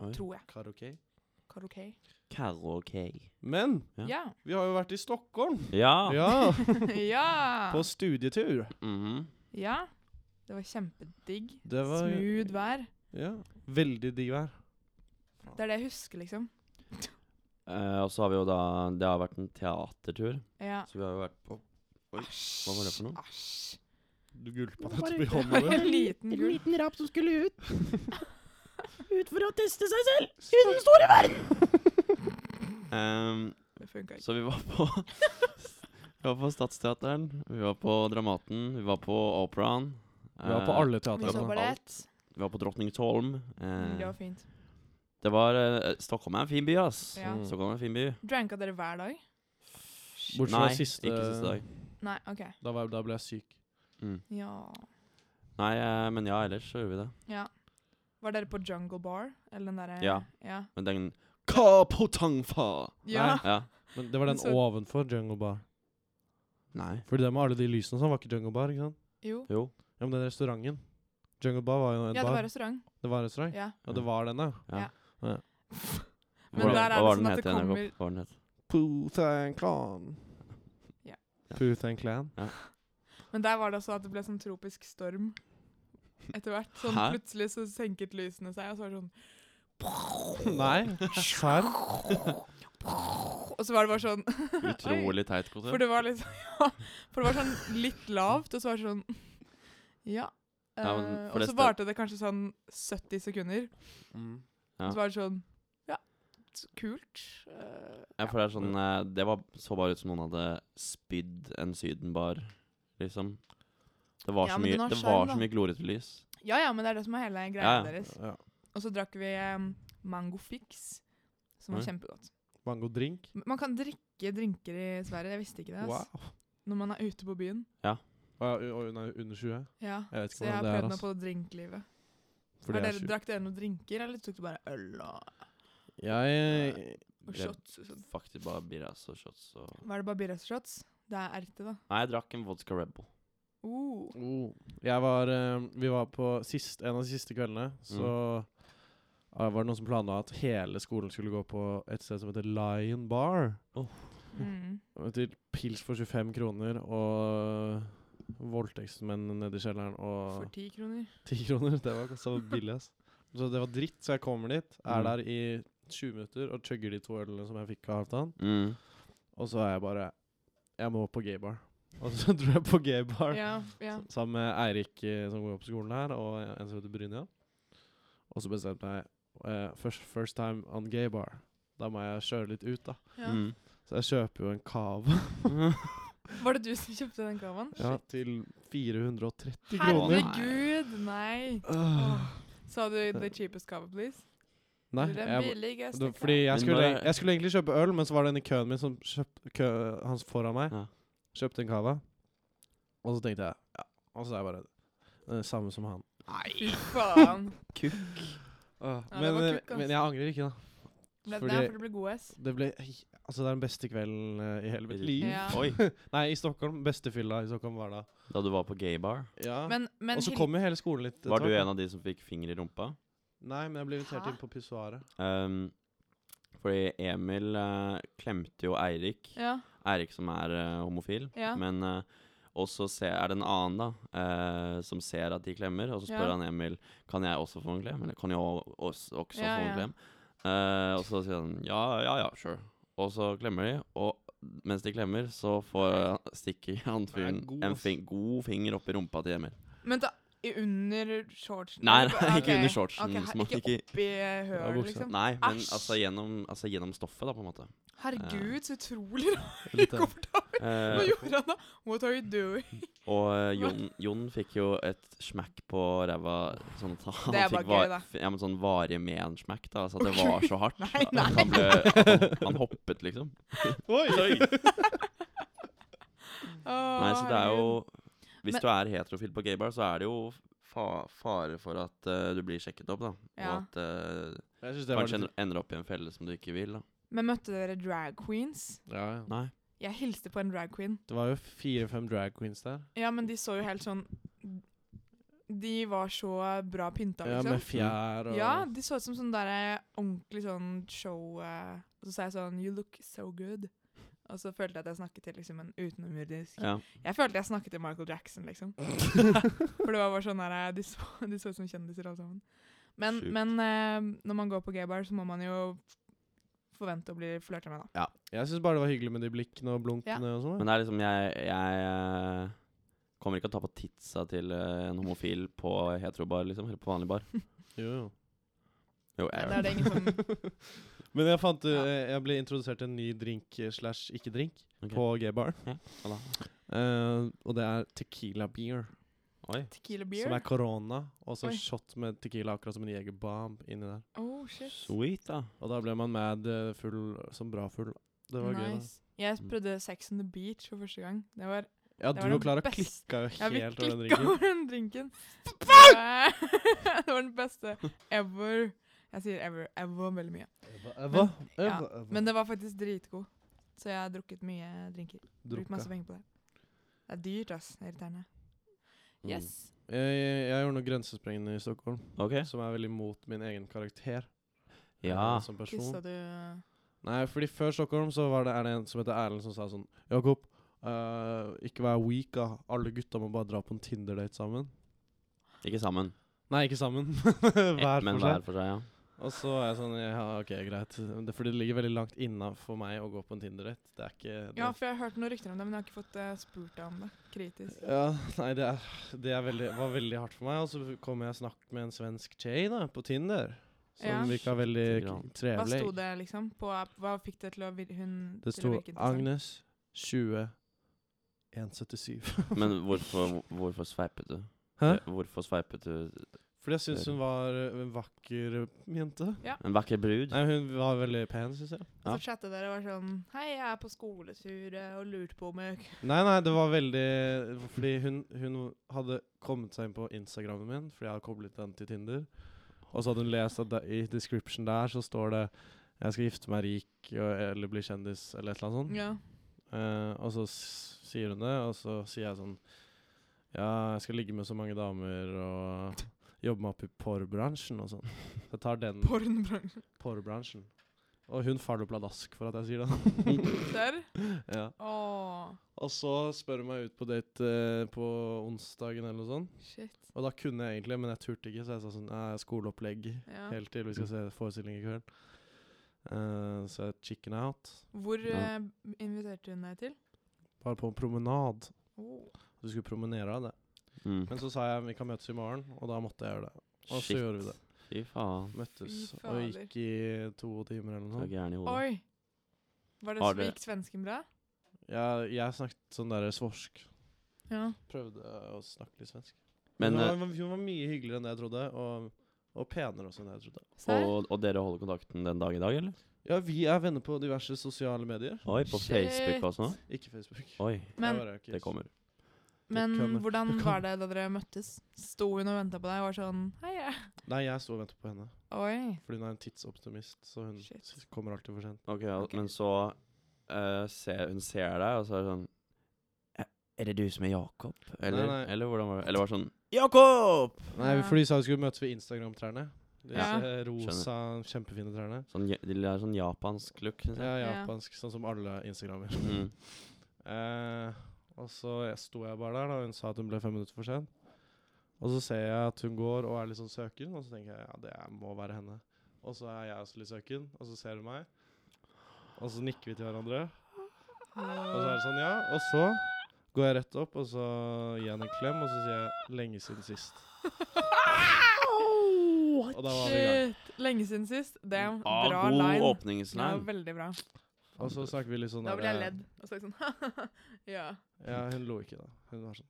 Speaker 2: Oi.
Speaker 3: Tror jeg.
Speaker 1: Karaoke?
Speaker 3: Karaoke.
Speaker 2: Karaoke.
Speaker 1: Men
Speaker 2: Ja.
Speaker 3: Ja.
Speaker 1: vi har jo vært i Stockholm!
Speaker 2: Ja!
Speaker 1: Ja,
Speaker 3: ja.
Speaker 1: på studietur.
Speaker 2: Mhm.
Speaker 3: ja. Det var kjempedigg.
Speaker 1: Det var
Speaker 3: Smooth vær.
Speaker 1: Ja. Veldig digg vær.
Speaker 3: Det er det jeg husker, liksom.
Speaker 2: Eh, og så har vi jo da Det har vært en teatertur,
Speaker 3: Ja.
Speaker 2: så vi har jo vært på Oi, hva var det for noe?
Speaker 3: Æsj.
Speaker 1: Du gulpa
Speaker 4: Det var
Speaker 1: nettopp i
Speaker 4: bare-
Speaker 1: hånda.
Speaker 3: En liten
Speaker 4: En
Speaker 3: gull.
Speaker 4: liten rap som skulle ut. ut for å teste seg selv i den store verden.
Speaker 2: Ehm,
Speaker 3: Det funka ikke.
Speaker 2: så vi var på Vi var på Stadsteateren, vi var på Dramaten, vi var på Operaen.
Speaker 1: Vi var på
Speaker 2: eh,
Speaker 1: alle
Speaker 3: Vi så
Speaker 2: på
Speaker 1: teatrene.
Speaker 3: ballett.
Speaker 2: Vi var på Drottningholm.
Speaker 3: Mm,
Speaker 2: Eh,
Speaker 3: Det var fint.
Speaker 2: det var eh, Stockholm er en fin by, ass.
Speaker 3: Ja.
Speaker 1: Mm.
Speaker 2: Stockholm er en fin by.
Speaker 3: Dranka dere hver dag?
Speaker 1: Bortsett fra
Speaker 2: Nei,
Speaker 1: siste,
Speaker 2: ikke siste dag.
Speaker 3: Nei, OK.
Speaker 1: Da, var, da ble jeg syk.
Speaker 2: Mm.
Speaker 3: Ja.
Speaker 2: Nei, eh, men ja, ellers så gjorde vi det.
Speaker 3: ja. Var dere på Jungle Bar? Eller den derre
Speaker 2: Ja.
Speaker 3: ja.
Speaker 2: Men den Kapotangfa!
Speaker 3: Ja.
Speaker 2: Ja.
Speaker 1: Men det var den
Speaker 3: Så-
Speaker 1: ovenfor Jungle Bar.
Speaker 2: Nei.
Speaker 1: Fordi det med alle de lysene og sånn var ikke Jungle Bar, ikke sant?
Speaker 3: Jo.
Speaker 2: Jo.
Speaker 1: Ja, men den restauranten. Jungle Bar var jo en
Speaker 3: Ja, det
Speaker 1: bar.
Speaker 3: var restaurant.
Speaker 1: det var en restaurant.
Speaker 3: Ja.
Speaker 1: Ja, det var den, ja.
Speaker 3: Men
Speaker 2: Hvordan-
Speaker 3: der er det
Speaker 2: hva var
Speaker 3: sånn
Speaker 2: den
Speaker 3: at
Speaker 2: het
Speaker 3: det
Speaker 2: igjen, Jakob?
Speaker 3: kommer-
Speaker 2: Hva var den het?
Speaker 1: Pooth and Clan.
Speaker 3: Ja.
Speaker 1: Pooth and Clan.
Speaker 3: Men der var det også at det ble sånn tropisk storm etter hvert. Sånn
Speaker 2: Hæ?
Speaker 3: plutselig så senket lysene seg, og så var det sånn
Speaker 1: Nei, serr?
Speaker 3: Og så var det bare sånn
Speaker 2: Utrolig teit konsert.
Speaker 3: For det var liksom ja, For det var sånn litt lavt, og så var det sånn Ja.
Speaker 2: Ja, men
Speaker 3: eh,
Speaker 2: for
Speaker 3: og
Speaker 2: det
Speaker 3: så
Speaker 2: sted-
Speaker 3: varte det kanskje sånn 70 sekunder.
Speaker 2: Ja.
Speaker 1: Mm.
Speaker 3: Og så var det sånn Ja, s- kult. eh,
Speaker 2: Ja, for det er sånn eh, Det var så bare ut som noen hadde spydd en sydenbar, liksom. Det var,
Speaker 3: Ja,
Speaker 2: så,
Speaker 3: men den
Speaker 2: mye,
Speaker 3: har
Speaker 2: det
Speaker 3: sjarm,
Speaker 2: var
Speaker 3: da.
Speaker 2: så mye glorete lys.
Speaker 3: ja ja, men det er det som er hele greia
Speaker 2: Ja, ja.
Speaker 3: deres.
Speaker 1: Ja.
Speaker 3: Og så drakk vi um, mango fix, som var
Speaker 2: Oi.
Speaker 3: kjempegodt.
Speaker 1: Mango drink.
Speaker 3: M- Man kan drikke drinker i Sverige, jeg visste ikke det.
Speaker 1: Wow.
Speaker 3: ass. Når man er ute på byen.
Speaker 1: Å ja, u- å, nei, under 20?
Speaker 3: Ja.
Speaker 1: Jeg vet ikke
Speaker 3: Så jeg
Speaker 1: hvordan det er.
Speaker 3: har prøvd meg
Speaker 1: Altså.
Speaker 3: på drinklivet.
Speaker 1: Fordi
Speaker 3: Har
Speaker 1: jeg er
Speaker 3: dere,
Speaker 1: tjue.
Speaker 3: drakk dere noen drinker, eller tok du bare øl og,
Speaker 1: Jeg
Speaker 3: og
Speaker 2: Det-
Speaker 3: shots? og sånn?
Speaker 2: Faktisk bare birras og shots og
Speaker 3: Var det bare birras og shots? Det er erte, da.
Speaker 2: Nei, jeg drakk en vodka Rebel.
Speaker 3: Oh.
Speaker 1: oh, Jeg var eh, Vi var på sist, en av de siste kveldene, så ah, var det noen som planla at hele skolen skulle gå på et sted som heter Lion Bar. Hm.
Speaker 3: Mm.
Speaker 1: Til pils for 25 kroner og voldtektsmenn nede i kjelleren og
Speaker 3: For ti kroner.
Speaker 1: 10 kroner. Det var så billig, ass. Så det var dritt, så jeg kommer dit, er
Speaker 2: Mm.
Speaker 1: der i 20 minutter og chugger de to ølene som jeg fikk av Halvdan.
Speaker 2: Mm.
Speaker 1: Og så er jeg bare Jeg må på gaybar. Og så dro jeg på gaybar
Speaker 3: Ja, ja.
Speaker 1: s- sammen med Eirik eh, som går på skolen her, og en som heter Brynja. Og så bestemte jeg eh, first, first time on gaybar. Da må jeg kjøre litt ut, da.
Speaker 3: ja.
Speaker 2: Mm.
Speaker 1: Så jeg kjøper jo en cava
Speaker 3: Var det du som kjøpte den kavaen?
Speaker 1: ja, til 430 kroner.
Speaker 3: Herregud, nei!
Speaker 1: Øh.
Speaker 3: Sa du 'the cheapest cava, please'?
Speaker 1: Nei,
Speaker 3: Eller den
Speaker 1: jeg,
Speaker 3: billigste
Speaker 1: Det, fordi jeg
Speaker 2: Men
Speaker 1: skulle,
Speaker 2: når-
Speaker 1: jeg skulle egentlig kjøpe øl, men så var det en i køen min som kjøpte kø, Han foran meg
Speaker 2: Ja.
Speaker 1: kjøpte en cava. Og så tenkte jeg ja, Og så er jeg bare eh, samme som han.
Speaker 3: cava? Fy faen.
Speaker 2: Kukk.
Speaker 3: Ja, det
Speaker 1: men,
Speaker 3: var
Speaker 1: eh,
Speaker 3: kukk, ass.
Speaker 1: men jeg angrer ikke, da.
Speaker 3: Ble,
Speaker 1: Fordi-
Speaker 3: Nei, for det ble god ass.
Speaker 1: Det ble Altså, det er den beste kvelden eh, i hele mitt liv.
Speaker 3: Ja.
Speaker 2: Oi.
Speaker 1: Nei, i Stockholm. Beste fylla i Stockholm var da.
Speaker 2: Da du var på gaybar,
Speaker 1: Ja.
Speaker 3: Men, men
Speaker 1: og så
Speaker 3: Hil-
Speaker 1: kom jo hele skolen litt eh,
Speaker 2: var du en av de som fikk finger i rumpa?
Speaker 1: Nei, men jeg ble invitert
Speaker 3: Hæ?
Speaker 1: inn på pissoaret.
Speaker 2: Um, fordi Emil eh, klemte jo Eirik.
Speaker 3: Ja,
Speaker 2: Eirik som er eh, homofil.
Speaker 3: ja.
Speaker 2: Men eh, også se, er det en annen da, eh, som ser at de klemmer, og så spør
Speaker 3: Ja.
Speaker 2: han Emil kan jeg også få en klem. Eller kan jeg o- også, også
Speaker 3: Ja,
Speaker 2: få en
Speaker 3: ja.
Speaker 2: klem? Eh, og så sier han ja, ja, ja, sure. Og så klemmer de, og mens de klemmer, så får stikker han
Speaker 1: er
Speaker 2: fyren
Speaker 1: god,
Speaker 2: en
Speaker 1: ass.
Speaker 2: fin, god finger opp i rumpa til Emil.
Speaker 3: Men da, I under shortsen?
Speaker 2: Nei,
Speaker 3: Eller
Speaker 2: nei,
Speaker 3: på-
Speaker 2: ikke
Speaker 3: ok.
Speaker 2: under shortsen,
Speaker 3: Ok,
Speaker 2: så man
Speaker 3: ikke
Speaker 2: ikke-
Speaker 3: oppi
Speaker 1: Ja,
Speaker 3: høl,
Speaker 1: buksa.
Speaker 3: liksom.
Speaker 2: Nei, men
Speaker 3: Æsj.
Speaker 2: altså gjennom, altså gjennom stoffet, da, på en måte.
Speaker 3: Herregud, så utrolig
Speaker 1: Litt, eh,
Speaker 3: komfortabelt. Hva
Speaker 2: Eh,
Speaker 3: gjorde han da? What are you doing?
Speaker 2: og eh, Jon, Jon fikk jo et smekk på ræva. Sånn at han
Speaker 3: Det er
Speaker 2: fikk
Speaker 3: bare gøy,
Speaker 2: va-
Speaker 3: da.
Speaker 2: f- Ja, men sånn varig med en smekk, da. Altså at det var så hardt.
Speaker 3: Nei,
Speaker 2: at
Speaker 3: nei.
Speaker 2: Han, ble, at han, han hoppet, liksom.
Speaker 1: Oi, oi.
Speaker 2: Nei, så det er jo Hvis
Speaker 3: Men-
Speaker 2: du er heterofil på gaybar, så er det jo fa fare for at eh, du blir sjekket opp, da.
Speaker 3: Ja.
Speaker 2: Og at eh,
Speaker 1: Jeg synes det var
Speaker 2: kanskje
Speaker 1: litt
Speaker 2: ender, ender opp i en felle som du ikke vil, da.
Speaker 3: Men møtte dere drag queens?
Speaker 1: ja, ja.
Speaker 2: Nei.
Speaker 3: Jeg hilste på en drag queen.
Speaker 1: Det var jo fire-fem drag queens der.
Speaker 3: Ja, men de så jo helt sånn De var så bra pynta,
Speaker 1: Ja, med
Speaker 3: liksom.
Speaker 1: fjær og
Speaker 3: Ja, de så ut som sånn derre ordentlig sånn show eh, Og så sa jeg sånn You look so good. Og så følte jeg at jeg snakket til liksom en utenomjordisk
Speaker 2: Ja.
Speaker 3: Jeg følte jeg snakket til Michael Jackson, liksom. For det var bare sånn der, eh, de, så, de så ut som kjendiser alle sammen. Men,
Speaker 2: Sjukt.
Speaker 3: men eh, når man går på gaybar, så må man jo forvente å bli flørta med, da.
Speaker 1: Jeg syns bare det var hyggelig med de blikkene og blunkene og sånn.
Speaker 2: Men det er liksom Jeg, jeg eh, kommer ikke å ta på titsa til eh, en homofil på heterobar, liksom. Eller på vanlig bar.
Speaker 1: Jo, jo.
Speaker 2: Jo,
Speaker 3: Ja,
Speaker 2: jeg
Speaker 3: det er det ingen sånn som
Speaker 1: Men jeg fant eh,
Speaker 3: Ja.
Speaker 1: Jeg ble introdusert til en ny drink eh, slash ikke-drink
Speaker 2: Ok.
Speaker 1: på G-bar.
Speaker 2: Hva da?
Speaker 1: Eh, og det er tequila beer,
Speaker 2: Oi.
Speaker 3: Tequila beer?
Speaker 1: som er korona. Og så
Speaker 3: Oi.
Speaker 1: shot med tequila, akkurat som en jegerbomb inni der.
Speaker 3: oh, shit.
Speaker 2: Sweet, da.
Speaker 1: Og da ble man mad eh, full som bra full. Det var gøy. da.
Speaker 3: nice. Jeg
Speaker 2: Mm.
Speaker 3: prøvde Sex on the Beach for første gang. Det var
Speaker 1: Ja,
Speaker 3: Det
Speaker 1: du
Speaker 3: var
Speaker 1: og
Speaker 3: den
Speaker 1: Klara
Speaker 3: beste-
Speaker 1: klikka jo
Speaker 3: Jeg
Speaker 1: helt over
Speaker 3: fikk
Speaker 1: den
Speaker 3: klikka
Speaker 1: drinken.
Speaker 3: over den drinken. Eh, det var den beste ever. Jeg sier ever, ever veldig mye.
Speaker 1: Eva,
Speaker 3: ja, Men det var faktisk dritgod. Så jeg har drukket mye drinker. Brukt
Speaker 1: Drukka.
Speaker 3: masse penger på det. Det er dyrt, ass. Det er Irriterende.
Speaker 2: Mm.
Speaker 3: Yes.
Speaker 1: Jeg, jeg, jeg gjorde noe grensesprengende i Stockholm,
Speaker 2: OK.
Speaker 1: som er veldig mot min egen karakter. eh,
Speaker 2: Ja. altså.
Speaker 1: Som person.
Speaker 3: Kyssa du
Speaker 1: Nei, fordi før Stockholm så var det, er det en som heter Erlend som sa sånn Jakob, eh, ikke vær weak, da. Alle gutta må bare dra på en Tinder-date sammen.
Speaker 2: Ikke sammen.
Speaker 1: Nei, ikke sammen. hver
Speaker 2: men
Speaker 1: for seg.
Speaker 2: hver for seg, ja.
Speaker 1: Og så er jeg sånn Ja, OK, greit. Det, fordi det ligger veldig langt inna for meg å gå på en Tinder-date. Det er ikke det.
Speaker 3: Ja, for jeg har hørt noen rykter om det, men jeg har ikke fått eh, spurt deg om det kritisk.
Speaker 1: Ja, nei, det, er, det er veldig, var veldig hardt for meg. Og så kom jeg og snakket med en svensk Jay da, på Tinder, som
Speaker 3: Ja.
Speaker 1: virka veldig
Speaker 2: Shit, grann.
Speaker 1: k-
Speaker 3: Hva
Speaker 1: trevelig.
Speaker 3: sto det, liksom? På, app- hva fikk det til å, vir hun,
Speaker 1: Det
Speaker 3: til å
Speaker 1: sto
Speaker 3: virke interessant?
Speaker 1: Agnes 20 177.
Speaker 2: Men hvorfor, hvorfor sveipet du?
Speaker 1: Hæ?
Speaker 2: Eh, Hvorfor sveipet du
Speaker 1: Fordi jeg syns hun var ø, en vakker ø, jente.
Speaker 2: en vakker brud?
Speaker 1: Nei, hun var veldig pen, syns jeg.
Speaker 3: Og
Speaker 2: Ja.
Speaker 3: så chatta dere og var sånn Hei, jeg er på skoletur eh, og lurte på om jeg
Speaker 1: Nei, nei, det var veldig Fordi hun, hun hadde kommet seg inn på Instagrammen min, fordi jeg hadde koblet den til Tinder. Og så hadde hun lest at det, i description der så står det 'Jeg skal gifte meg rik og, eller bli kjendis', eller et eller annet sånt.
Speaker 3: Ja.
Speaker 1: Eh, og så s sier hun det, og så sier jeg sånn Ja, jeg skal ligge med så mange damer og jobbe meg opp i porrbransjen og sånn. Så jeg tar den
Speaker 3: Pornbransjen.
Speaker 1: porrbransjen. Og hun faller pladask for at jeg sier det.
Speaker 3: Der.
Speaker 1: ja.
Speaker 3: Åh,
Speaker 1: Og så spør hun meg ut på date eh, på onsdagen eller noe sånt.
Speaker 3: shit.
Speaker 1: Og da kunne jeg egentlig, men jeg turte ikke, så jeg sa sånn Nei, skoleopplegg
Speaker 3: Ja.
Speaker 1: helt til vi skal se forestilling i kveld. Eh, så jeg chicken out.
Speaker 3: Hvor
Speaker 2: Ja.
Speaker 3: eh, inviterte hun deg til?
Speaker 1: Bare på en promenad.
Speaker 3: Oh.
Speaker 1: Du skulle promenere av det.
Speaker 2: Mm.
Speaker 1: Men så sa jeg vi kan møtes i morgen, og da måtte jeg gjøre det. Og så
Speaker 2: Shit.
Speaker 1: gjorde vi det.
Speaker 2: Fy faen.
Speaker 1: Møttes
Speaker 3: Fy
Speaker 1: og
Speaker 3: fader.
Speaker 1: gikk i to timer eller
Speaker 2: Så
Speaker 1: noe sånt.
Speaker 2: gæren i hodet.
Speaker 3: Oi! Var det
Speaker 2: Har
Speaker 3: så
Speaker 2: dere-
Speaker 3: gikk svensken bra?
Speaker 1: Jeg, jeg snakket sånn derre svorsk.
Speaker 3: Ja.
Speaker 1: Prøvde å snakke litt svensk. Men
Speaker 2: Men,
Speaker 1: hun
Speaker 2: eh,
Speaker 1: var, hun var mye hyggeligere enn det jeg trodde, og, og penere også enn jeg trodde.
Speaker 3: Serr?
Speaker 2: og, og dere holder kontakten den dag i dag, eller?
Speaker 1: Ja, vi er venner på diverse sosiale medier.
Speaker 2: Oi, på
Speaker 3: Shit.
Speaker 2: Facebook også nå?
Speaker 1: Ikke Facebook.
Speaker 2: Oi,
Speaker 3: Men,
Speaker 1: Jeg var ikke-
Speaker 2: det kommer.
Speaker 3: men
Speaker 1: kommer.
Speaker 3: hvordan
Speaker 1: Det
Speaker 3: var det da dere møttes? Sto hun og venta på deg og var sånn Hei, jeg.
Speaker 1: Nei, jeg sto og ventet på henne.
Speaker 3: Oi.
Speaker 1: Fordi hun er en tidsoptimist, så hun
Speaker 3: Shit.
Speaker 1: s- kommer alltid for sent.
Speaker 2: Ok, ja,
Speaker 3: Ok.
Speaker 2: men så eh, ser, Hun ser deg, og så er det sånn "Eh, Er det du som er Jakob? Eller,
Speaker 1: nei.
Speaker 2: eller hvordan var det? Eller var det sånn Jakob!
Speaker 1: Nei,
Speaker 3: Ja.
Speaker 1: fordi de sa vi skulle møtes ved Instagram-trærne. De
Speaker 3: Ja.
Speaker 1: eh, rosa, kjempefine trærne.
Speaker 2: Sånn, ja- de har sånn japansk look, syns jeg.
Speaker 1: Ja,
Speaker 3: Ja.
Speaker 1: japansk, sånn som alle instagrammer.
Speaker 2: Mm.
Speaker 1: Eh, og så jeg- sto jeg bare der, da hun sa at hun ble fem minutter for sent. Og så ser jeg at hun går og er litt sånn søken, og så tenker jeg ja, det er- må være henne. Og så er jeg også litt søken, og så ser hun meg. Og så nikker vi til hverandre. Og så er det sånn, ja. Og så går jeg rett opp, og så gir jeg henne en klem, og så sier jeg 'lenge siden sist'.
Speaker 4: Au!
Speaker 1: Og da var vi i gang.
Speaker 3: Shit. Lenge siden sist. Damn.
Speaker 2: Ah,
Speaker 3: Bra
Speaker 2: god
Speaker 3: line. Ja,
Speaker 2: åpningsline.
Speaker 3: veldig bra.
Speaker 1: Sånn Og så snakker vi litt sånn
Speaker 3: Da
Speaker 1: der,
Speaker 3: ville jeg
Speaker 1: eh,
Speaker 3: ledd. Og så er jeg sånn Ja.
Speaker 1: Ja, hun lo ikke, da. Hun var sånn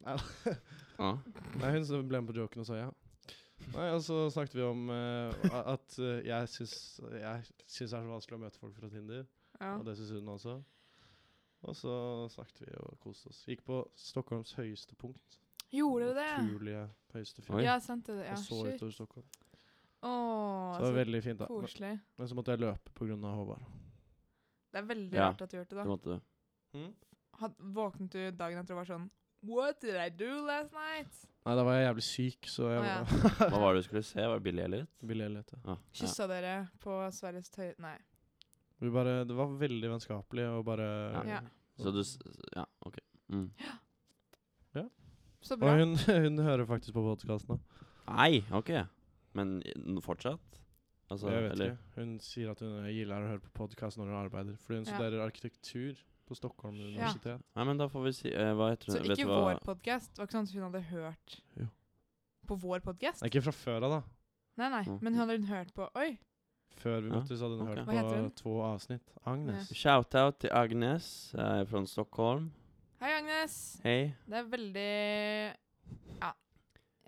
Speaker 1: Nei, da.
Speaker 2: Ja.
Speaker 1: Nei hun så ble med på joken og sa ja. Nei, Og så snakket vi om eh, a- at eh, jeg syns jeg syns det er så vanskelig å møte folk fra Tinder,
Speaker 3: ja.
Speaker 1: og det syns hun også. Og så snakket vi og koste oss. Gikk på Stockholms høyeste punkt.
Speaker 3: Gjorde dere det?
Speaker 1: Naturlige høyeste
Speaker 2: Oi.
Speaker 1: fjell.
Speaker 3: Ja, sendte det. Ja,
Speaker 1: og så
Speaker 3: shit.
Speaker 1: utover Stockholm.
Speaker 3: Å,
Speaker 1: Så det
Speaker 3: så
Speaker 1: var veldig fint, da. Men,
Speaker 3: koselig.
Speaker 1: men så måtte jeg løpe pga. Håvard.
Speaker 3: Det er veldig
Speaker 2: Ja.
Speaker 3: rart at du gjorde det,
Speaker 2: Det
Speaker 3: da.
Speaker 2: måtte du.
Speaker 3: Had, våknet du dagen etter og var sånn What did I do last night?
Speaker 1: Nei, da var jeg jævlig syk, så jeg
Speaker 3: Å, ja.
Speaker 1: var
Speaker 2: Hva var det du skulle se? Var det Billie Elliot?
Speaker 1: ville lete.
Speaker 2: Ah, ja.
Speaker 3: Kyssa dere på Sveriges tøy... Nei.
Speaker 1: Vi bare, det var veldig vennskapelig og bare
Speaker 3: Ja.
Speaker 2: Så du s- Ja, OK. Mm.
Speaker 3: Så
Speaker 1: Og
Speaker 3: bra.
Speaker 1: hun, hun hører faktisk på podkasten.
Speaker 2: Nei, OK. Men i- n- fortsatt? Altså,
Speaker 1: Jeg vet
Speaker 2: eller
Speaker 1: ikke. Hun sier at hun gilder å høre på podkast når hun arbeider, fordi hun
Speaker 3: Ja.
Speaker 1: studerer arkitektur på Stockholm universitet.
Speaker 2: Nei, men da får vi si eh, Hva heter
Speaker 3: Så
Speaker 2: hun? Vet du
Speaker 3: ikke
Speaker 2: hva?
Speaker 3: vår podkast. Det var ikke sånn at hun hadde hørt
Speaker 1: Jo.
Speaker 3: på vår podkast?
Speaker 1: Nei, Ikke fra før av, da.
Speaker 3: Nei, nei.
Speaker 2: Mm.
Speaker 3: Men hun hadde liksom hørt på Oi.
Speaker 1: Før vi
Speaker 2: Ja,
Speaker 1: møttes, hadde hun
Speaker 2: ok.
Speaker 1: hørt
Speaker 3: Hva heter hun?
Speaker 1: på to avsnitt. Agnes.
Speaker 2: Shout-out til Agnes eh, fra Stockholm.
Speaker 3: Hei, Agnes.
Speaker 2: Hei.
Speaker 3: Det er veldig Ja.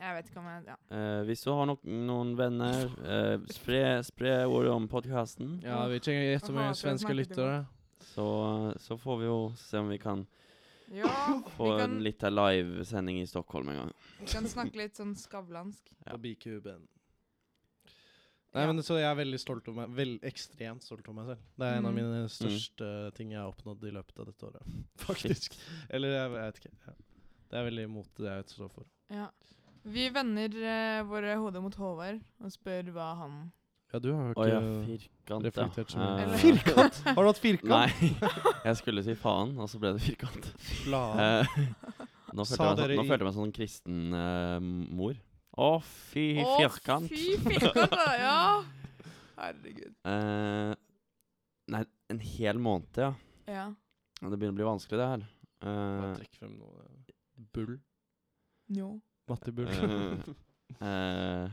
Speaker 3: Jeg vet ikke om jeg Ja.
Speaker 2: Eh, hvis du har nok, noen venner, eh, spre, spre ordet om podkasten.
Speaker 1: Ja, vi trenger gjette hvor
Speaker 3: Aha,
Speaker 1: mange
Speaker 3: for jeg
Speaker 1: svenske
Speaker 3: snakket i
Speaker 1: lyttere.
Speaker 2: Så, så får vi jo se om vi kan
Speaker 3: ja vi,
Speaker 2: få
Speaker 3: kan,
Speaker 2: en litt av livesending i Stockholm en gang.
Speaker 3: vi kan snakke litt sånn skavlansk.
Speaker 2: Ja.
Speaker 1: På bikuben. Nei,
Speaker 3: Ja.
Speaker 1: men så jeg er veldig stolt over meg Vel, ekstremt stolt over meg selv. Det er en av
Speaker 3: Mm.
Speaker 1: mine største ting jeg har oppnådd i løpet av dette året. Faktisk. Eller jeg vet ikke. Ja. Det er veldig imot det jeg står for.
Speaker 3: Ja. Vi vender eh, våre hoder mot Håvard og spør hva han
Speaker 1: Ja, du har jo
Speaker 2: Å
Speaker 1: ikke
Speaker 2: ja, firkant, ja.
Speaker 1: reflektert så mye.
Speaker 2: Eh,
Speaker 1: Firkant? Har du hatt firkant?
Speaker 2: Nei, jeg skulle si faen, og så ble det firkant.
Speaker 1: Plan.
Speaker 2: Eh, nå, følte
Speaker 1: Sa
Speaker 2: jeg meg,
Speaker 1: dere
Speaker 2: sånn- nå
Speaker 1: i-
Speaker 2: følte jeg meg som en kristen eh, mor. Å, fy
Speaker 3: Å,
Speaker 2: firkant.
Speaker 3: Fy firkant, da! Ja! Herregud.
Speaker 2: Eh, nei, en hel måned, ja.
Speaker 3: Ja.
Speaker 2: Det begynner å bli vanskelig, det her. Eh,
Speaker 1: Bare Trekk frem noe. Bull.
Speaker 3: Jo.
Speaker 1: Matti Bull.
Speaker 2: eh,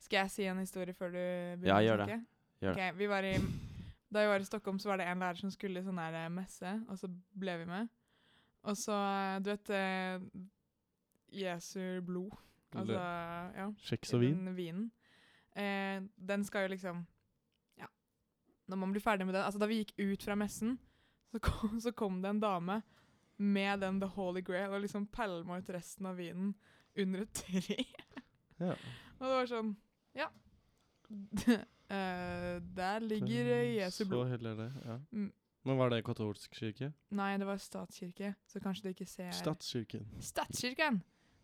Speaker 3: Skal jeg si en historie før du
Speaker 2: Ja,
Speaker 3: begynner
Speaker 2: gjør
Speaker 3: å
Speaker 2: det.
Speaker 3: snakke?
Speaker 2: Gjør det.
Speaker 3: Ok, vi var i, da vi var i Stockholm, så var det en lærer som skulle i sånn der eh, messe, og så ble vi med. Og så, eh, du vet eh, Jesu blod. Altså, ja.
Speaker 1: Kjeks
Speaker 3: i
Speaker 1: og vin.
Speaker 3: Den vinen. Eh, den skal jo liksom Ja. Når man blir ferdig med den Altså, da vi gikk ut fra messen, så kom, så kom det en dame med den The Holy Grail og liksom pælma ut resten av vinen under et tre.
Speaker 1: Ja.
Speaker 3: Og det var sånn Ja. Eh, der ligger eh, Jesu blod.
Speaker 1: Så heller det, ja.
Speaker 3: Mm.
Speaker 1: Men var det katolsk kirke?
Speaker 3: Nei, det var statskirke, så kanskje du ikke ser
Speaker 1: Statskirken.
Speaker 3: Statskirken!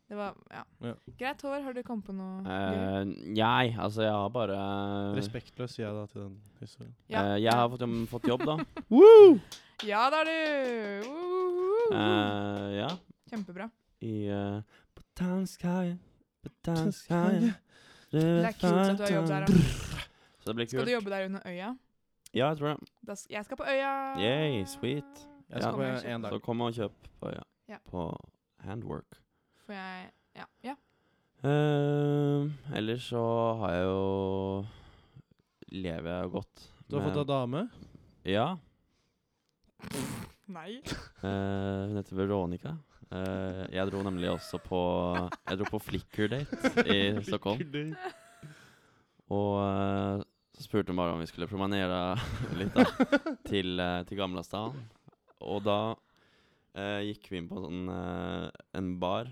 Speaker 3: Det var Ja.
Speaker 1: Ja.
Speaker 3: Greit, Håvard, har du kommet på noe? gøy?
Speaker 2: eh, nei, altså, jeg har bare
Speaker 1: Respektløs sier jeg da til den historien.
Speaker 3: Ja.
Speaker 2: Eh, jeg har fått, fått jobb, da.
Speaker 3: Ja da, du! Woohoo!
Speaker 2: Eh, ja.
Speaker 3: Kjempebra.
Speaker 2: I eh, Botanskhagen, Botanskhagen
Speaker 3: Det er kult at du har jobb der. Da.
Speaker 2: Så det blir
Speaker 3: Skal
Speaker 2: kult.
Speaker 3: du jobbe der under øya?
Speaker 2: Ja, jeg tror det.
Speaker 3: Da s- jeg skal på øya!
Speaker 2: Yay, sweet.
Speaker 1: Jeg
Speaker 2: Ja.
Speaker 1: skal
Speaker 3: Kommer jeg
Speaker 1: på
Speaker 3: ikke.
Speaker 1: en dag.
Speaker 2: Så kom og kjøp på, ja.
Speaker 3: Ja.
Speaker 2: på Handwork.
Speaker 3: Får jeg Ja. ja.
Speaker 2: Uh, ellers så har jeg jo Lever jeg jo godt.
Speaker 1: Du har fått deg dame?
Speaker 2: Ja.
Speaker 3: Nei.
Speaker 2: eh, hun heter Veronica. Eh, jeg dro nemlig også på Jeg dro på Flickr-date i Stockholm. Og eh, så spurte hun bare om vi skulle promenere litt da, til, eh, til Gamlestaden. Og da eh, gikk vi inn på sånn, eh, en bar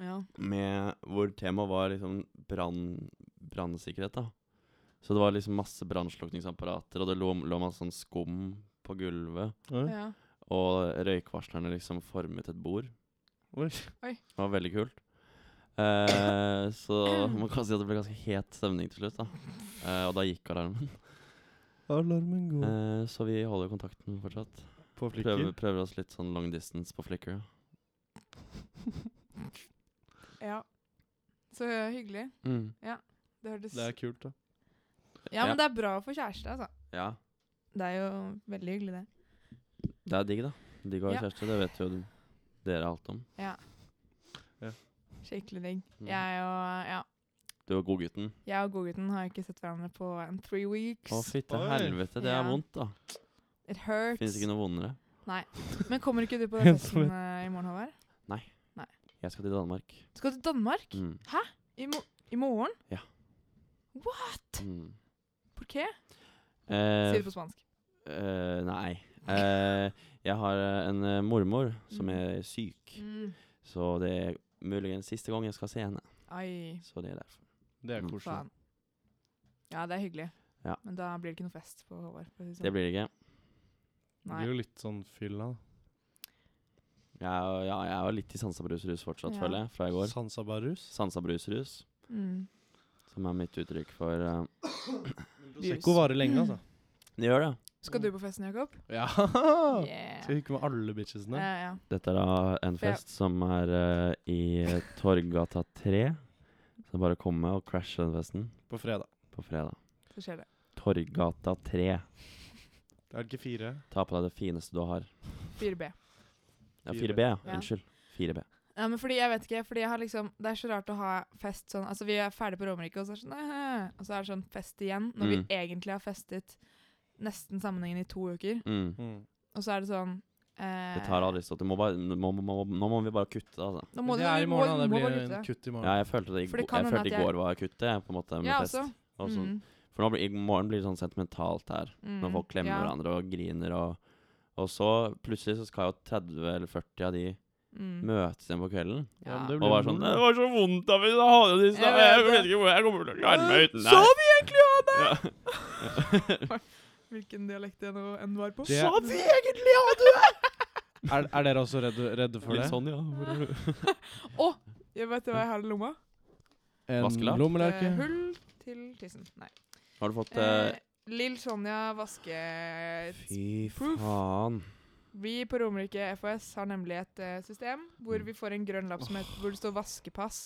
Speaker 3: Ja.
Speaker 2: med, hvor temaet var liksom brann- brannsikkerhet. da. Så det var liksom masse brannslukningsapparater, og det lå, lå masse sånn skum på gulvet.
Speaker 1: Oi.
Speaker 3: ja.
Speaker 2: Og røykvarslerne liksom formet et bord.
Speaker 1: Oi.
Speaker 2: Det var veldig kult. Eh, så man kan si at det ble ganske het stemning til slutt. da. Eh, og da gikk alarmen.
Speaker 1: Alarmen går
Speaker 2: Eh, så vi holder kontakten fortsatt.
Speaker 1: på
Speaker 2: Prøver,
Speaker 1: Mm. flikker.
Speaker 2: prøver oss litt sånn long distance på Flickr. ja.
Speaker 3: ja. Så hyggelig. Det hørtes
Speaker 1: Det er kult, da.
Speaker 3: Ja,
Speaker 2: ja.
Speaker 3: men det er bra å få kjæreste, altså.
Speaker 2: Ja.
Speaker 3: Det er jo veldig hyggelig, det.
Speaker 2: Det er digg, da. Digg å ha
Speaker 3: Ja.
Speaker 2: kjæreste, det vet jo du- dere alt om.
Speaker 3: Skikkelig digg.
Speaker 2: Mm.
Speaker 3: Jeg og ja,
Speaker 2: Du og godgutten.
Speaker 3: jeg og godgutten har ikke sett hverandre på en three weeks.
Speaker 2: Å, fytte
Speaker 1: Oi.
Speaker 2: helvete, det er
Speaker 3: Ja.
Speaker 2: vondt, da.
Speaker 3: It hurts.
Speaker 2: Fins ikke noe vondere.
Speaker 3: Men kommer ikke du på den
Speaker 1: En som
Speaker 3: festen eh, i morgen, Håvard?
Speaker 2: Jeg skal til Danmark.
Speaker 3: Skal du til Danmark?
Speaker 2: Mm.
Speaker 3: I, mo I morgen?
Speaker 2: Mm.
Speaker 3: Por qué?
Speaker 2: Eh,
Speaker 3: Si det på spansk.
Speaker 2: eh, nei. Eh, jeg har eh, en eh, mormor som
Speaker 3: Mm.
Speaker 2: er syk,
Speaker 3: Mm.
Speaker 2: så det er muligens siste gang jeg skal se henne.
Speaker 3: Ai,
Speaker 2: Så det er derfor.
Speaker 1: Det er
Speaker 2: Mm.
Speaker 1: koselig.
Speaker 3: faen. Ja, det er hyggelig.
Speaker 2: Ja.
Speaker 3: Men da blir det ikke noe fest på Håvard. for å si
Speaker 2: Det
Speaker 3: sånn.
Speaker 2: blir det ikke.
Speaker 1: Det
Speaker 3: Nei.
Speaker 1: blir jo litt sånn fylla.
Speaker 2: Jeg er, jo- ja, jeg er jo litt i sansabrusrus fortsatt,
Speaker 3: Ja.
Speaker 2: føler jeg, fra i går.
Speaker 1: Sansa Barus.
Speaker 2: Sansabrusrus,
Speaker 3: Mm.
Speaker 2: som er mitt uttrykk for eh,
Speaker 1: Prosecco varer lenge, altså.
Speaker 2: Det gjør det.
Speaker 3: Skal du på festen, Jakob?
Speaker 1: Ja!
Speaker 3: Yeah.
Speaker 1: Skal hygge med alle bitchesene.
Speaker 3: Ja, ja.
Speaker 2: Dette er da en
Speaker 3: For jeg-
Speaker 2: fest som er eh, i Torgata 3. Så det er bare å komme og crashe den festen
Speaker 1: På fredag.
Speaker 2: på fredag.
Speaker 3: Så skjer det.
Speaker 2: Torgata 3.
Speaker 1: Det er ikke fire.
Speaker 2: Ta på deg det fineste du har.
Speaker 3: 4B.
Speaker 2: Ja,
Speaker 1: 4B.
Speaker 2: 4B, ja.
Speaker 3: Ja.
Speaker 2: Unnskyld. 4B.
Speaker 3: Ja, men fordi jeg vet ikke, fordi jeg har liksom Det er så rart å ha fest sånn Altså, vi er ferdig på Romerike, og så er det sånn «Æ», Og så er det sånn fest igjen, når
Speaker 2: Mm.
Speaker 3: vi egentlig har festet nesten sammenhengende i to uker.
Speaker 2: Mm.
Speaker 3: Og så er det sånn eh,
Speaker 2: Det tar aldri stopp. Du må bare, nå, må, må, nå må vi bare kutte, altså.
Speaker 3: Nå må
Speaker 1: det
Speaker 3: du
Speaker 1: er i
Speaker 3: må,
Speaker 1: morgen, da. Det
Speaker 3: må
Speaker 1: blir
Speaker 3: bare
Speaker 1: en
Speaker 3: kutte.
Speaker 1: kutt i morgen.
Speaker 2: Ja, jeg følte det i,
Speaker 3: For det
Speaker 2: go-
Speaker 3: kan
Speaker 2: jeg
Speaker 3: hende
Speaker 2: følte i
Speaker 3: at jeg-
Speaker 2: går var kuttet, jeg, på en måte, med
Speaker 3: Ja,
Speaker 2: fest.
Speaker 3: også.
Speaker 2: Og så-
Speaker 3: Mm,
Speaker 2: For nå blir, i morgen blir det sånn sentimentalt her,
Speaker 3: mm,
Speaker 2: når folk klemmer
Speaker 3: ja,
Speaker 2: hverandre og griner og Og så plutselig så skal jo 30 eller 40 av de
Speaker 3: mm.
Speaker 2: møtes igjen på kvelden.
Speaker 1: Ja, men
Speaker 3: Ja.
Speaker 1: det
Speaker 2: Og
Speaker 1: blir
Speaker 2: var sånn
Speaker 1: moro.
Speaker 2: Det var så vondt av meg, da hadde disse
Speaker 3: Jeg
Speaker 2: Jeg
Speaker 3: vet
Speaker 2: vet
Speaker 3: det.
Speaker 2: ikke hvor jeg kommer til å klare meg uten
Speaker 3: Så
Speaker 2: deg.
Speaker 3: vi egentlig ha det?!
Speaker 2: Ja.
Speaker 3: Hvilken dialekt det nå enn var på.
Speaker 1: Det-
Speaker 3: Sa vi egentlig ha det?!
Speaker 1: Er, er dere også redde, redde for det?
Speaker 2: Litt sånn, ja. Hvor er du?
Speaker 3: Jeg vet hva jeg har i lomma.
Speaker 1: En
Speaker 2: Vaskelapp?
Speaker 1: lommelerke?
Speaker 3: Eh, hull til tissen. Nei.
Speaker 2: Har du fått
Speaker 3: Eh,
Speaker 2: eh,
Speaker 3: Lill Sonja vaske...
Speaker 2: Fy
Speaker 3: proof.
Speaker 2: faen.
Speaker 3: Vi på Romerike FHS har nemlig et eh, system hvor vi får en grønn lapp som heter, hvor det står vaskepass.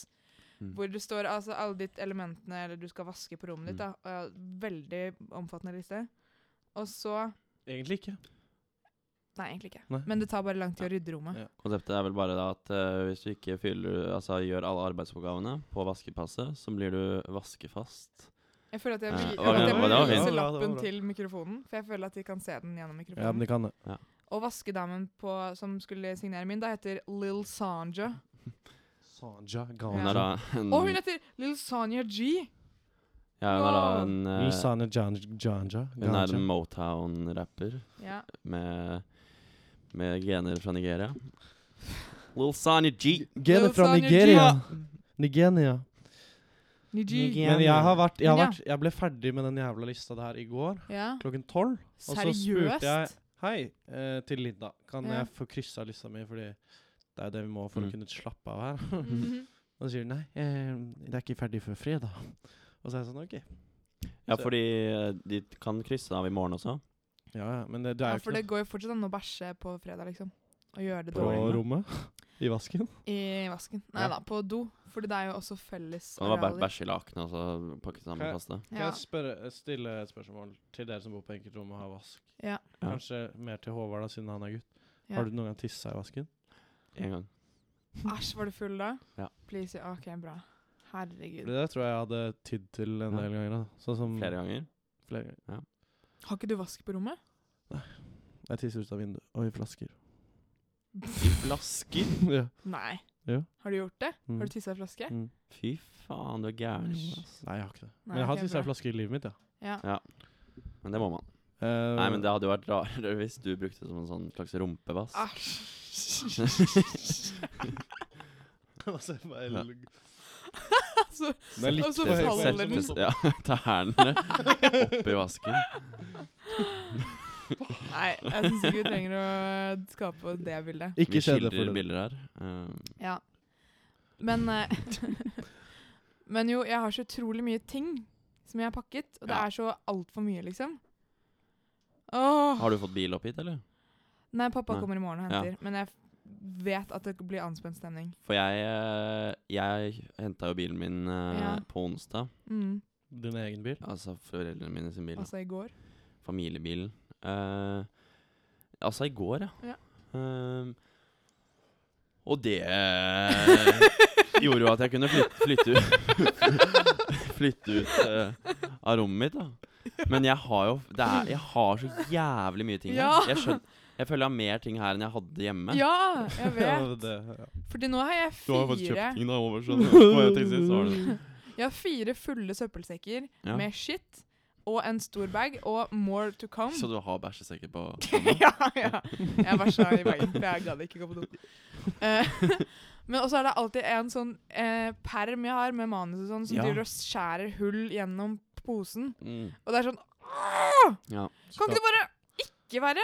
Speaker 2: Mm.
Speaker 3: Hvor det står altså alle de elementene eller du skal vaske på rommet ditt.
Speaker 2: Mm.
Speaker 3: da. Og, veldig omfattende liste. Og så
Speaker 1: Egentlig ikke.
Speaker 3: Nei, egentlig ikke.
Speaker 1: Nei.
Speaker 3: Men det tar bare lang tid å rydde rommet.
Speaker 1: Ja.
Speaker 2: Konseptet er vel bare da at eh, hvis du ikke fyller, altså, gjør alle arbeidsoppgavene på vaskepasset, så blir du vaskefast.
Speaker 3: Jeg føler at jeg
Speaker 2: Eh,
Speaker 3: vil,
Speaker 2: hva-
Speaker 3: at jeg
Speaker 2: hva-
Speaker 3: vil
Speaker 2: det var fint.
Speaker 3: vise
Speaker 1: Ja, det var
Speaker 3: lappen
Speaker 1: bra.
Speaker 3: til mikrofonen, for jeg føler at de kan se den gjennom
Speaker 1: Ja, men
Speaker 3: mikrofonen.
Speaker 1: de kan det.
Speaker 3: Og vaskedamen på, som skulle signere min, da heter Lill Sanja.
Speaker 1: Sanja
Speaker 2: Hun
Speaker 1: Ganja.
Speaker 2: er da en,
Speaker 1: Mm.
Speaker 3: Og hun heter Lill Sanja G!
Speaker 2: ja, hun er da
Speaker 3: Wow.
Speaker 2: en, eh,
Speaker 1: Lusana Jan- Janja.
Speaker 2: hun er
Speaker 1: Ganja.
Speaker 2: en Motown-rapper
Speaker 3: Ja.
Speaker 2: med, med gener fra Nigeria. Lil Sonny G.
Speaker 1: Genet fra
Speaker 3: Lusana
Speaker 1: Nigeria. Nigeria.
Speaker 3: Niji.
Speaker 1: Men jeg har vært jeg, har
Speaker 3: Men ja.
Speaker 1: vært jeg ble ferdig med den jævla lista der i går
Speaker 3: Ja.
Speaker 1: klokken tolv. så spurte jeg-
Speaker 3: Seriøst?
Speaker 1: Hei eh, til Linda. Kan
Speaker 3: Ja.
Speaker 1: jeg få kryssa lista mi, fordi det er det vi må for
Speaker 2: Mm.
Speaker 1: å kunne slappe av her?
Speaker 3: Mhm.
Speaker 1: Og så sier hun nei, eh, det er ikke ferdig før fredag. Og så er jeg sånn OK.
Speaker 2: Ja,
Speaker 1: Så-
Speaker 2: fordi eh, de kan krysse av i morgen også.
Speaker 1: Ja, ja, men det, det er
Speaker 3: Ja,
Speaker 1: jo
Speaker 3: for
Speaker 1: ikke
Speaker 3: det går jo fortsatt an å bæsje på fredag, liksom. Og gjøre det
Speaker 1: noe på
Speaker 3: dårlig.
Speaker 1: rommet. I vasken.
Speaker 3: I vasken. Nei
Speaker 1: Ja.
Speaker 3: da, på do. For det er jo også felles
Speaker 2: Det var bare bæsj i lakenet og så pakket sammen
Speaker 1: Ok.
Speaker 2: og kaste.
Speaker 1: Kan
Speaker 3: Ja.
Speaker 1: jeg spørre, stille et spørsmål til dere som bor på enkeltrom og har vask?
Speaker 3: Ja.
Speaker 2: Ja.
Speaker 1: Kanskje mer til Håvard, da, siden han er gutt.
Speaker 3: Ja.
Speaker 1: Har du noen gang tissa i vasken?
Speaker 2: En gang.
Speaker 3: Æsj, var du full da?
Speaker 2: Ja.
Speaker 3: Please, ja. OK, bra.
Speaker 1: Fordi
Speaker 3: Herregud.
Speaker 1: det tror jeg jeg hadde tydd til en
Speaker 2: Ja.
Speaker 1: del ganger. da. Sånn som
Speaker 2: Flere ganger.
Speaker 1: flere ganger.
Speaker 3: Har ikke du vask på rommet?
Speaker 1: Jeg tisser ut av vinduet. Og i flasker.
Speaker 2: I flasker.
Speaker 1: ja.
Speaker 3: Nei.
Speaker 1: Jo.
Speaker 3: Har du gjort det?
Speaker 1: Mm.
Speaker 3: Har du tissa i flaske?
Speaker 1: Mm.
Speaker 2: Fy faen, du er gæren. Jonas.
Speaker 1: Nei, jeg har ikke det.
Speaker 3: Nei,
Speaker 1: men jeg har
Speaker 3: ok,
Speaker 1: tissa i
Speaker 3: bra.
Speaker 1: flasker i livet mitt, ja.
Speaker 3: Ja.
Speaker 2: Men det må man.
Speaker 1: Eh,
Speaker 2: Nei, men det hadde jo vært rarere hvis du brukte det som en sånn slags rumpevask.
Speaker 3: Ah, Æsj.
Speaker 1: Altså, jeg bare-
Speaker 2: Ja.
Speaker 3: altså,
Speaker 1: Men litt
Speaker 3: Og så
Speaker 1: på høy-
Speaker 3: faller
Speaker 1: på høy-
Speaker 3: den.
Speaker 1: på høy-
Speaker 2: Ja, tærne oppi vasken.
Speaker 3: nei, jeg syns ikke vi trenger å skape det bildet.
Speaker 1: Ikke
Speaker 2: Vi
Speaker 1: se det
Speaker 2: skildrer
Speaker 1: for det.
Speaker 2: bilder her. Um,
Speaker 3: Ja. Men eh, Men jo, jeg har så utrolig mye ting som jeg har pakket, og det
Speaker 2: Ja.
Speaker 3: er så altfor mye, liksom. Åh.
Speaker 2: har du fått bil opp hit, eller?
Speaker 3: Nei, pappa
Speaker 2: Nei.
Speaker 3: kommer i morgen og
Speaker 2: Ja.
Speaker 3: henter, men jeg f- vet at det blir anspent stemning.
Speaker 2: For jeg, eh, jeg henta jo bilen min eh,
Speaker 3: Ja.
Speaker 2: på onsdag.
Speaker 3: Mm.
Speaker 1: Din egen bil?
Speaker 2: Altså foreldrene mine sin bil. da.
Speaker 3: Altså i går.
Speaker 2: Familiebilen. Eh, altså i går, ja.
Speaker 3: Ja.
Speaker 2: Ehm, og det eh, gjorde jo at jeg kunne flytte, flytte ut Flytte ut eh, av rommet mitt, da. Men jeg har jo det er, Jeg har så jævlig mye ting
Speaker 3: Ja.
Speaker 2: her. Jeg, skjøn, jeg føler jeg har mer ting her enn jeg hadde hjemme.
Speaker 3: Ja, jeg
Speaker 1: Ja,
Speaker 3: vet.
Speaker 1: det, ja.
Speaker 3: Fordi nå har jeg fire
Speaker 2: ting da over, skjønner du. Hva jeg tenkte sist, så var det-
Speaker 3: Jeg har fire fulle søppelsekker
Speaker 2: Ja.
Speaker 3: med shit og en stor bag og more to come.
Speaker 2: Så du har bæsjesekker på
Speaker 3: ja, ja. Jeg bæsja i bagen, for jeg gadd ikke gå på do. Eh, men også er det alltid en sånn eh, perm jeg har med manus og sånn, som
Speaker 2: Ja.
Speaker 3: driver og skjærer hull gjennom posen.
Speaker 2: mm.
Speaker 3: Og det er sånn «Åh!
Speaker 2: Ja.
Speaker 3: Kan ikke du bare ikke være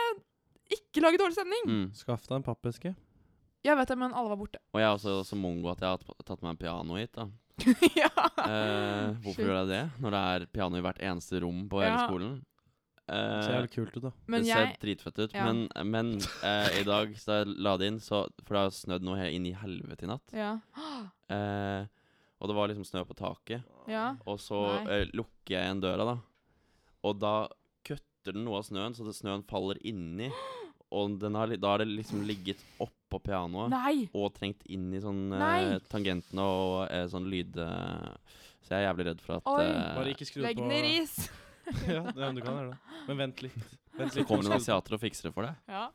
Speaker 3: Ikke lage dårlig stemning?
Speaker 2: Mm.
Speaker 1: Skaff deg en pappeske.
Speaker 3: Jeg vet det, men alle var borte.
Speaker 2: Og jeg er også så mongo at jeg har tatt- tatt med en piano hit. da
Speaker 3: ja.
Speaker 2: Eh, hvorfor
Speaker 3: Shit.
Speaker 2: gjør jeg det? Når det er piano i hvert eneste rom på hele
Speaker 3: Ja.
Speaker 2: skolen.
Speaker 1: Ser
Speaker 2: Eh,
Speaker 1: jævlig kult ut, da.
Speaker 3: Men
Speaker 2: det ser
Speaker 3: jeg
Speaker 2: dritfett ut,
Speaker 3: Ja.
Speaker 2: men, men eh, i dag da jeg la det inn, så, for det har snødd noe he- inn i helvete i natt
Speaker 3: Ja.
Speaker 2: eh, Og det var liksom snø på taket,
Speaker 3: ja.
Speaker 2: og så
Speaker 3: Nei.
Speaker 2: eh, lukker jeg igjen døra, da. Og da kutter den noe av snøen, så det, snøen faller inni. Og den har, li- da har det liksom ligget oppå pianoet
Speaker 3: Nei!
Speaker 2: og trengt inn i sånn
Speaker 3: Nei.
Speaker 2: eh, tangentene og eh, sånn lyd eh, Så jeg er jævlig redd for at
Speaker 3: Oi.
Speaker 2: eh,
Speaker 1: Bare ikke skru
Speaker 3: Legg
Speaker 1: på
Speaker 3: den i ris!
Speaker 1: ja, ja, men du kan gjøre det. Men vent litt. Vent
Speaker 2: Så
Speaker 1: litt
Speaker 2: kommer det en asiater og fikser det for deg.
Speaker 3: Ja.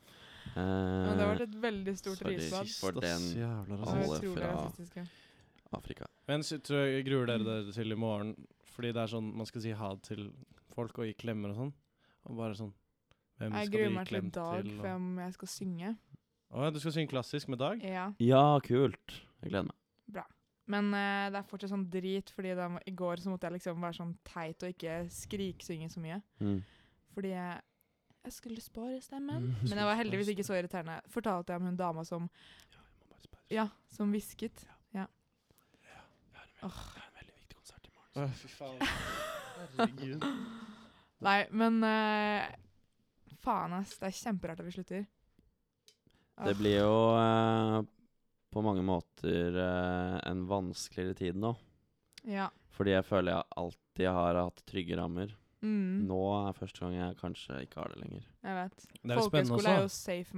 Speaker 2: Eh,
Speaker 3: Men det har vært et veldig stort
Speaker 2: sorry.
Speaker 3: risbad.
Speaker 2: for den
Speaker 1: jævla
Speaker 3: Det var
Speaker 2: alle
Speaker 3: utrolig
Speaker 2: fra-
Speaker 3: rasistiske.
Speaker 2: Eh, Afrika.
Speaker 1: Men så tror jeg gruer dere dere til i morgen, fordi det er sånn man skal si ha det til folk og gi klemmer og sånn. Og bare sånn Hvem
Speaker 3: Jeg
Speaker 1: skal
Speaker 3: gruer
Speaker 1: du gi
Speaker 3: meg til i
Speaker 1: klem
Speaker 3: dag
Speaker 1: til?
Speaker 3: for
Speaker 1: Og...
Speaker 3: om jeg skal synge.
Speaker 1: Å ja, du skal synge klassisk med Dag?
Speaker 3: Ja.
Speaker 2: Ja, kult. Jeg gleder meg.
Speaker 3: Men eh, det er fortsatt sånn drit, fordi da, i går så måtte jeg liksom være sånn teit og ikke skriksynge så mye.
Speaker 2: Mm.
Speaker 3: Fordi jeg, jeg skulle spare stemmen. Men jeg var heldigvis ikke så irriterende. Fortalte jeg om hun dama som Ja, som hvisket. Ja.
Speaker 1: Å, fy faen. Herregud.
Speaker 3: Nei, men eh, Faen, ass. Det er kjemperart at vi slutter.
Speaker 2: Det blir jo eh, på mange måter eh, en vanskeligere tid nå.
Speaker 3: Ja.
Speaker 2: Fordi jeg føler jeg alltid har hatt trygge rammer.
Speaker 3: Mm,
Speaker 2: Nå er første gang jeg kanskje ikke har det lenger.
Speaker 3: jeg vet.
Speaker 1: Det er jo spennende
Speaker 3: Folkehøyskole er jo
Speaker 1: også.
Speaker 3: safe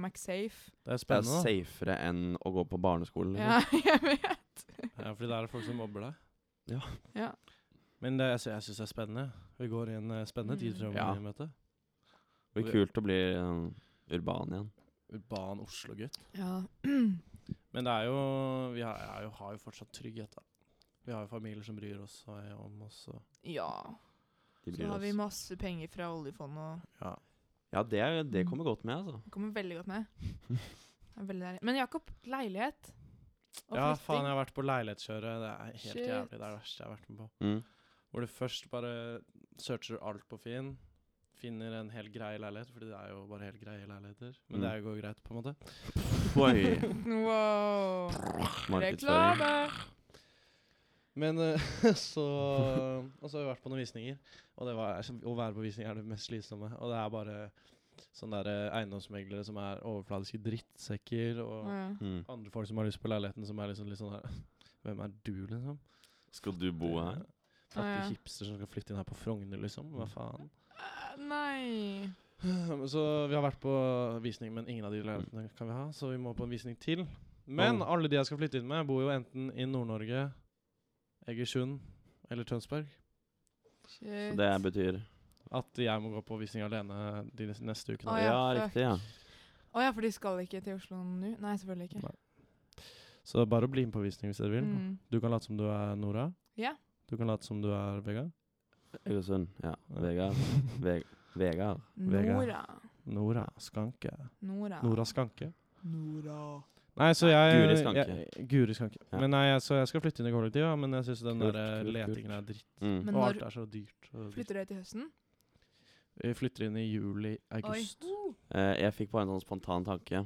Speaker 1: Det
Speaker 3: McSafe.
Speaker 1: er
Speaker 2: Det er
Speaker 1: spennende,
Speaker 2: safere enn å gå på barneskolen. liksom.
Speaker 3: Ja, jeg vet.
Speaker 1: da. Ja, fordi der er det folk som mobber deg.
Speaker 2: Ja.
Speaker 3: Ja.
Speaker 1: Men det, jeg, sy- jeg syns det er spennende. Vi går i en eh, spennende tid
Speaker 3: Mm.
Speaker 1: framover
Speaker 2: Ja.
Speaker 1: i møte.
Speaker 2: Det blir kult å bli eh, urban igjen.
Speaker 1: Urban Oslo-gutt.
Speaker 3: Ja.
Speaker 1: Men det er jo Vi har, er jo, har jo fortsatt trygghet, da. Vi har jo familier som bryr oss og er om oss og
Speaker 3: ja.
Speaker 2: De
Speaker 3: Så
Speaker 2: bryr
Speaker 3: har vi
Speaker 2: oss.
Speaker 3: masse penger fra oljefondet og
Speaker 1: Ja.
Speaker 2: Ja, det, er- det kommer godt med, altså.
Speaker 3: Det kommer veldig godt med. Det er veldig deilig. Men Jakob, leilighet og
Speaker 1: Ja,
Speaker 3: flytting.
Speaker 1: faen, jeg har vært på leilighetskjøret. Det er helt
Speaker 3: Shit.
Speaker 1: jævlig. Det er det verste jeg har vært med på.
Speaker 2: Mm.
Speaker 1: Hvor du først bare searcher alt på Finn, finner en helt grei leilighet, fordi det er jo bare helt greie leiligheter. Men det
Speaker 2: Mm.
Speaker 1: går greit, på en måte.
Speaker 2: Oi,
Speaker 3: Wow.
Speaker 2: markedsføring.
Speaker 3: Reklame!
Speaker 1: Men eh, så Og så har vi vært på noen visninger, og det var, altså, å være på visning er det mest slitsomme. Og det er bare sånne der eh, eiendomsmeglere som er overfladiske drittsekker, og
Speaker 3: Ja.
Speaker 2: Mm.
Speaker 1: andre folk som har lyst på leiligheten, som er liksom litt sånn her Hvem er du, liksom?
Speaker 2: Skal du bo her?
Speaker 1: Fattig
Speaker 3: Ja, ja.
Speaker 1: hipster som skal flytte inn her på Frogner, liksom. Hva
Speaker 2: Mm.
Speaker 1: faen?
Speaker 3: Eh, Nei
Speaker 1: Men Så vi har vært på visning, men ingen av de leilighetene kan vi ha, så vi må på en visning til. Men
Speaker 2: Oh.
Speaker 1: alle de jeg skal flytte inn med, bor jo enten i Nord-Norge, Egersund eller Tønsberg.
Speaker 2: Så
Speaker 3: Shit.
Speaker 2: det betyr
Speaker 1: At jeg må gå på visning alene de nes- neste ukene.
Speaker 3: Å
Speaker 2: ja,
Speaker 3: ja, fuck.
Speaker 2: riktig, ja.
Speaker 3: Å ja, for de skal ikke til Oslo nå? Nei, selvfølgelig ikke.
Speaker 1: Nei. Så bare bli med på visning hvis dere vil.
Speaker 3: Mm.
Speaker 1: Du kan late som du er Nora.
Speaker 3: Ja.
Speaker 1: Du kan late som du er Vegard.
Speaker 2: Egersund. Ja. Vegard. Veg Vegard.
Speaker 3: Nora.
Speaker 1: Nora Skanke.
Speaker 3: Nora.
Speaker 1: Nora Skanke.
Speaker 3: Nora.
Speaker 1: Nei, så jeg
Speaker 2: Guri Skanke.
Speaker 1: Jeg, Guri Skanke.
Speaker 2: Ja.
Speaker 1: Men nei, altså, jeg, så jeg skal flytte inn i kollektiv, ja, men jeg syns den
Speaker 2: Kult,
Speaker 1: der eh,
Speaker 2: kult,
Speaker 1: letingen
Speaker 2: kult.
Speaker 1: er dritt.
Speaker 2: Mm.
Speaker 3: Men
Speaker 1: og
Speaker 3: når
Speaker 1: alt er så dyrt. Og dritt.
Speaker 3: flytter dere til høsten?
Speaker 1: Vi flytter inn i juli-august.
Speaker 3: Oi.
Speaker 2: Eh, jeg fikk bare en sånn spontan tanke.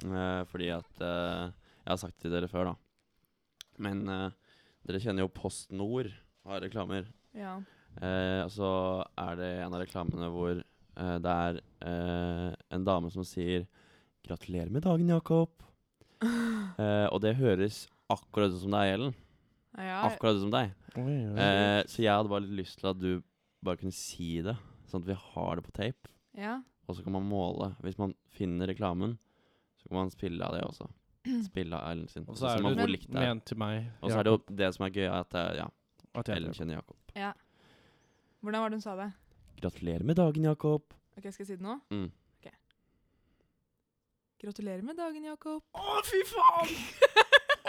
Speaker 2: Eh, fordi at eh, Jeg har sagt det til dere før, da. Men eh, dere kjenner jo Post Nord har reklamer.
Speaker 3: Ja.
Speaker 2: Eh, og så er det en av reklamene hvor eh, det er eh, en dame som sier 'Gratulerer med dagen, Jakob'. Eh, og det høres akkurat ut som deg, Ellen.
Speaker 3: ja.
Speaker 2: Akkurat ut som deg.
Speaker 1: Oi, oi.
Speaker 2: Eh, så jeg hadde bare litt lyst til at du bare kunne si det, sånn at vi har det på tape.
Speaker 3: ja.
Speaker 2: Og så kan man måle. Hvis man finner reklamen, Og man spilla det også. Spilla Erlend sin.
Speaker 1: Og så er
Speaker 2: man
Speaker 1: det
Speaker 2: hvor
Speaker 3: Men-
Speaker 2: likt det er.
Speaker 1: ment til meg.
Speaker 2: Og så er det jo det som er gøy, er at det er, ja,
Speaker 1: Jakob, at jeg
Speaker 2: Ellen
Speaker 1: drev.
Speaker 2: kjenner Jakob.
Speaker 3: Hvordan var det hun sa det?
Speaker 2: Gratulerer med dagen, Jakob.
Speaker 3: Ok, Skal jeg si det nå?
Speaker 2: Mm.
Speaker 3: Gratulerer med dagen, Jakob.
Speaker 2: Å, fy faen!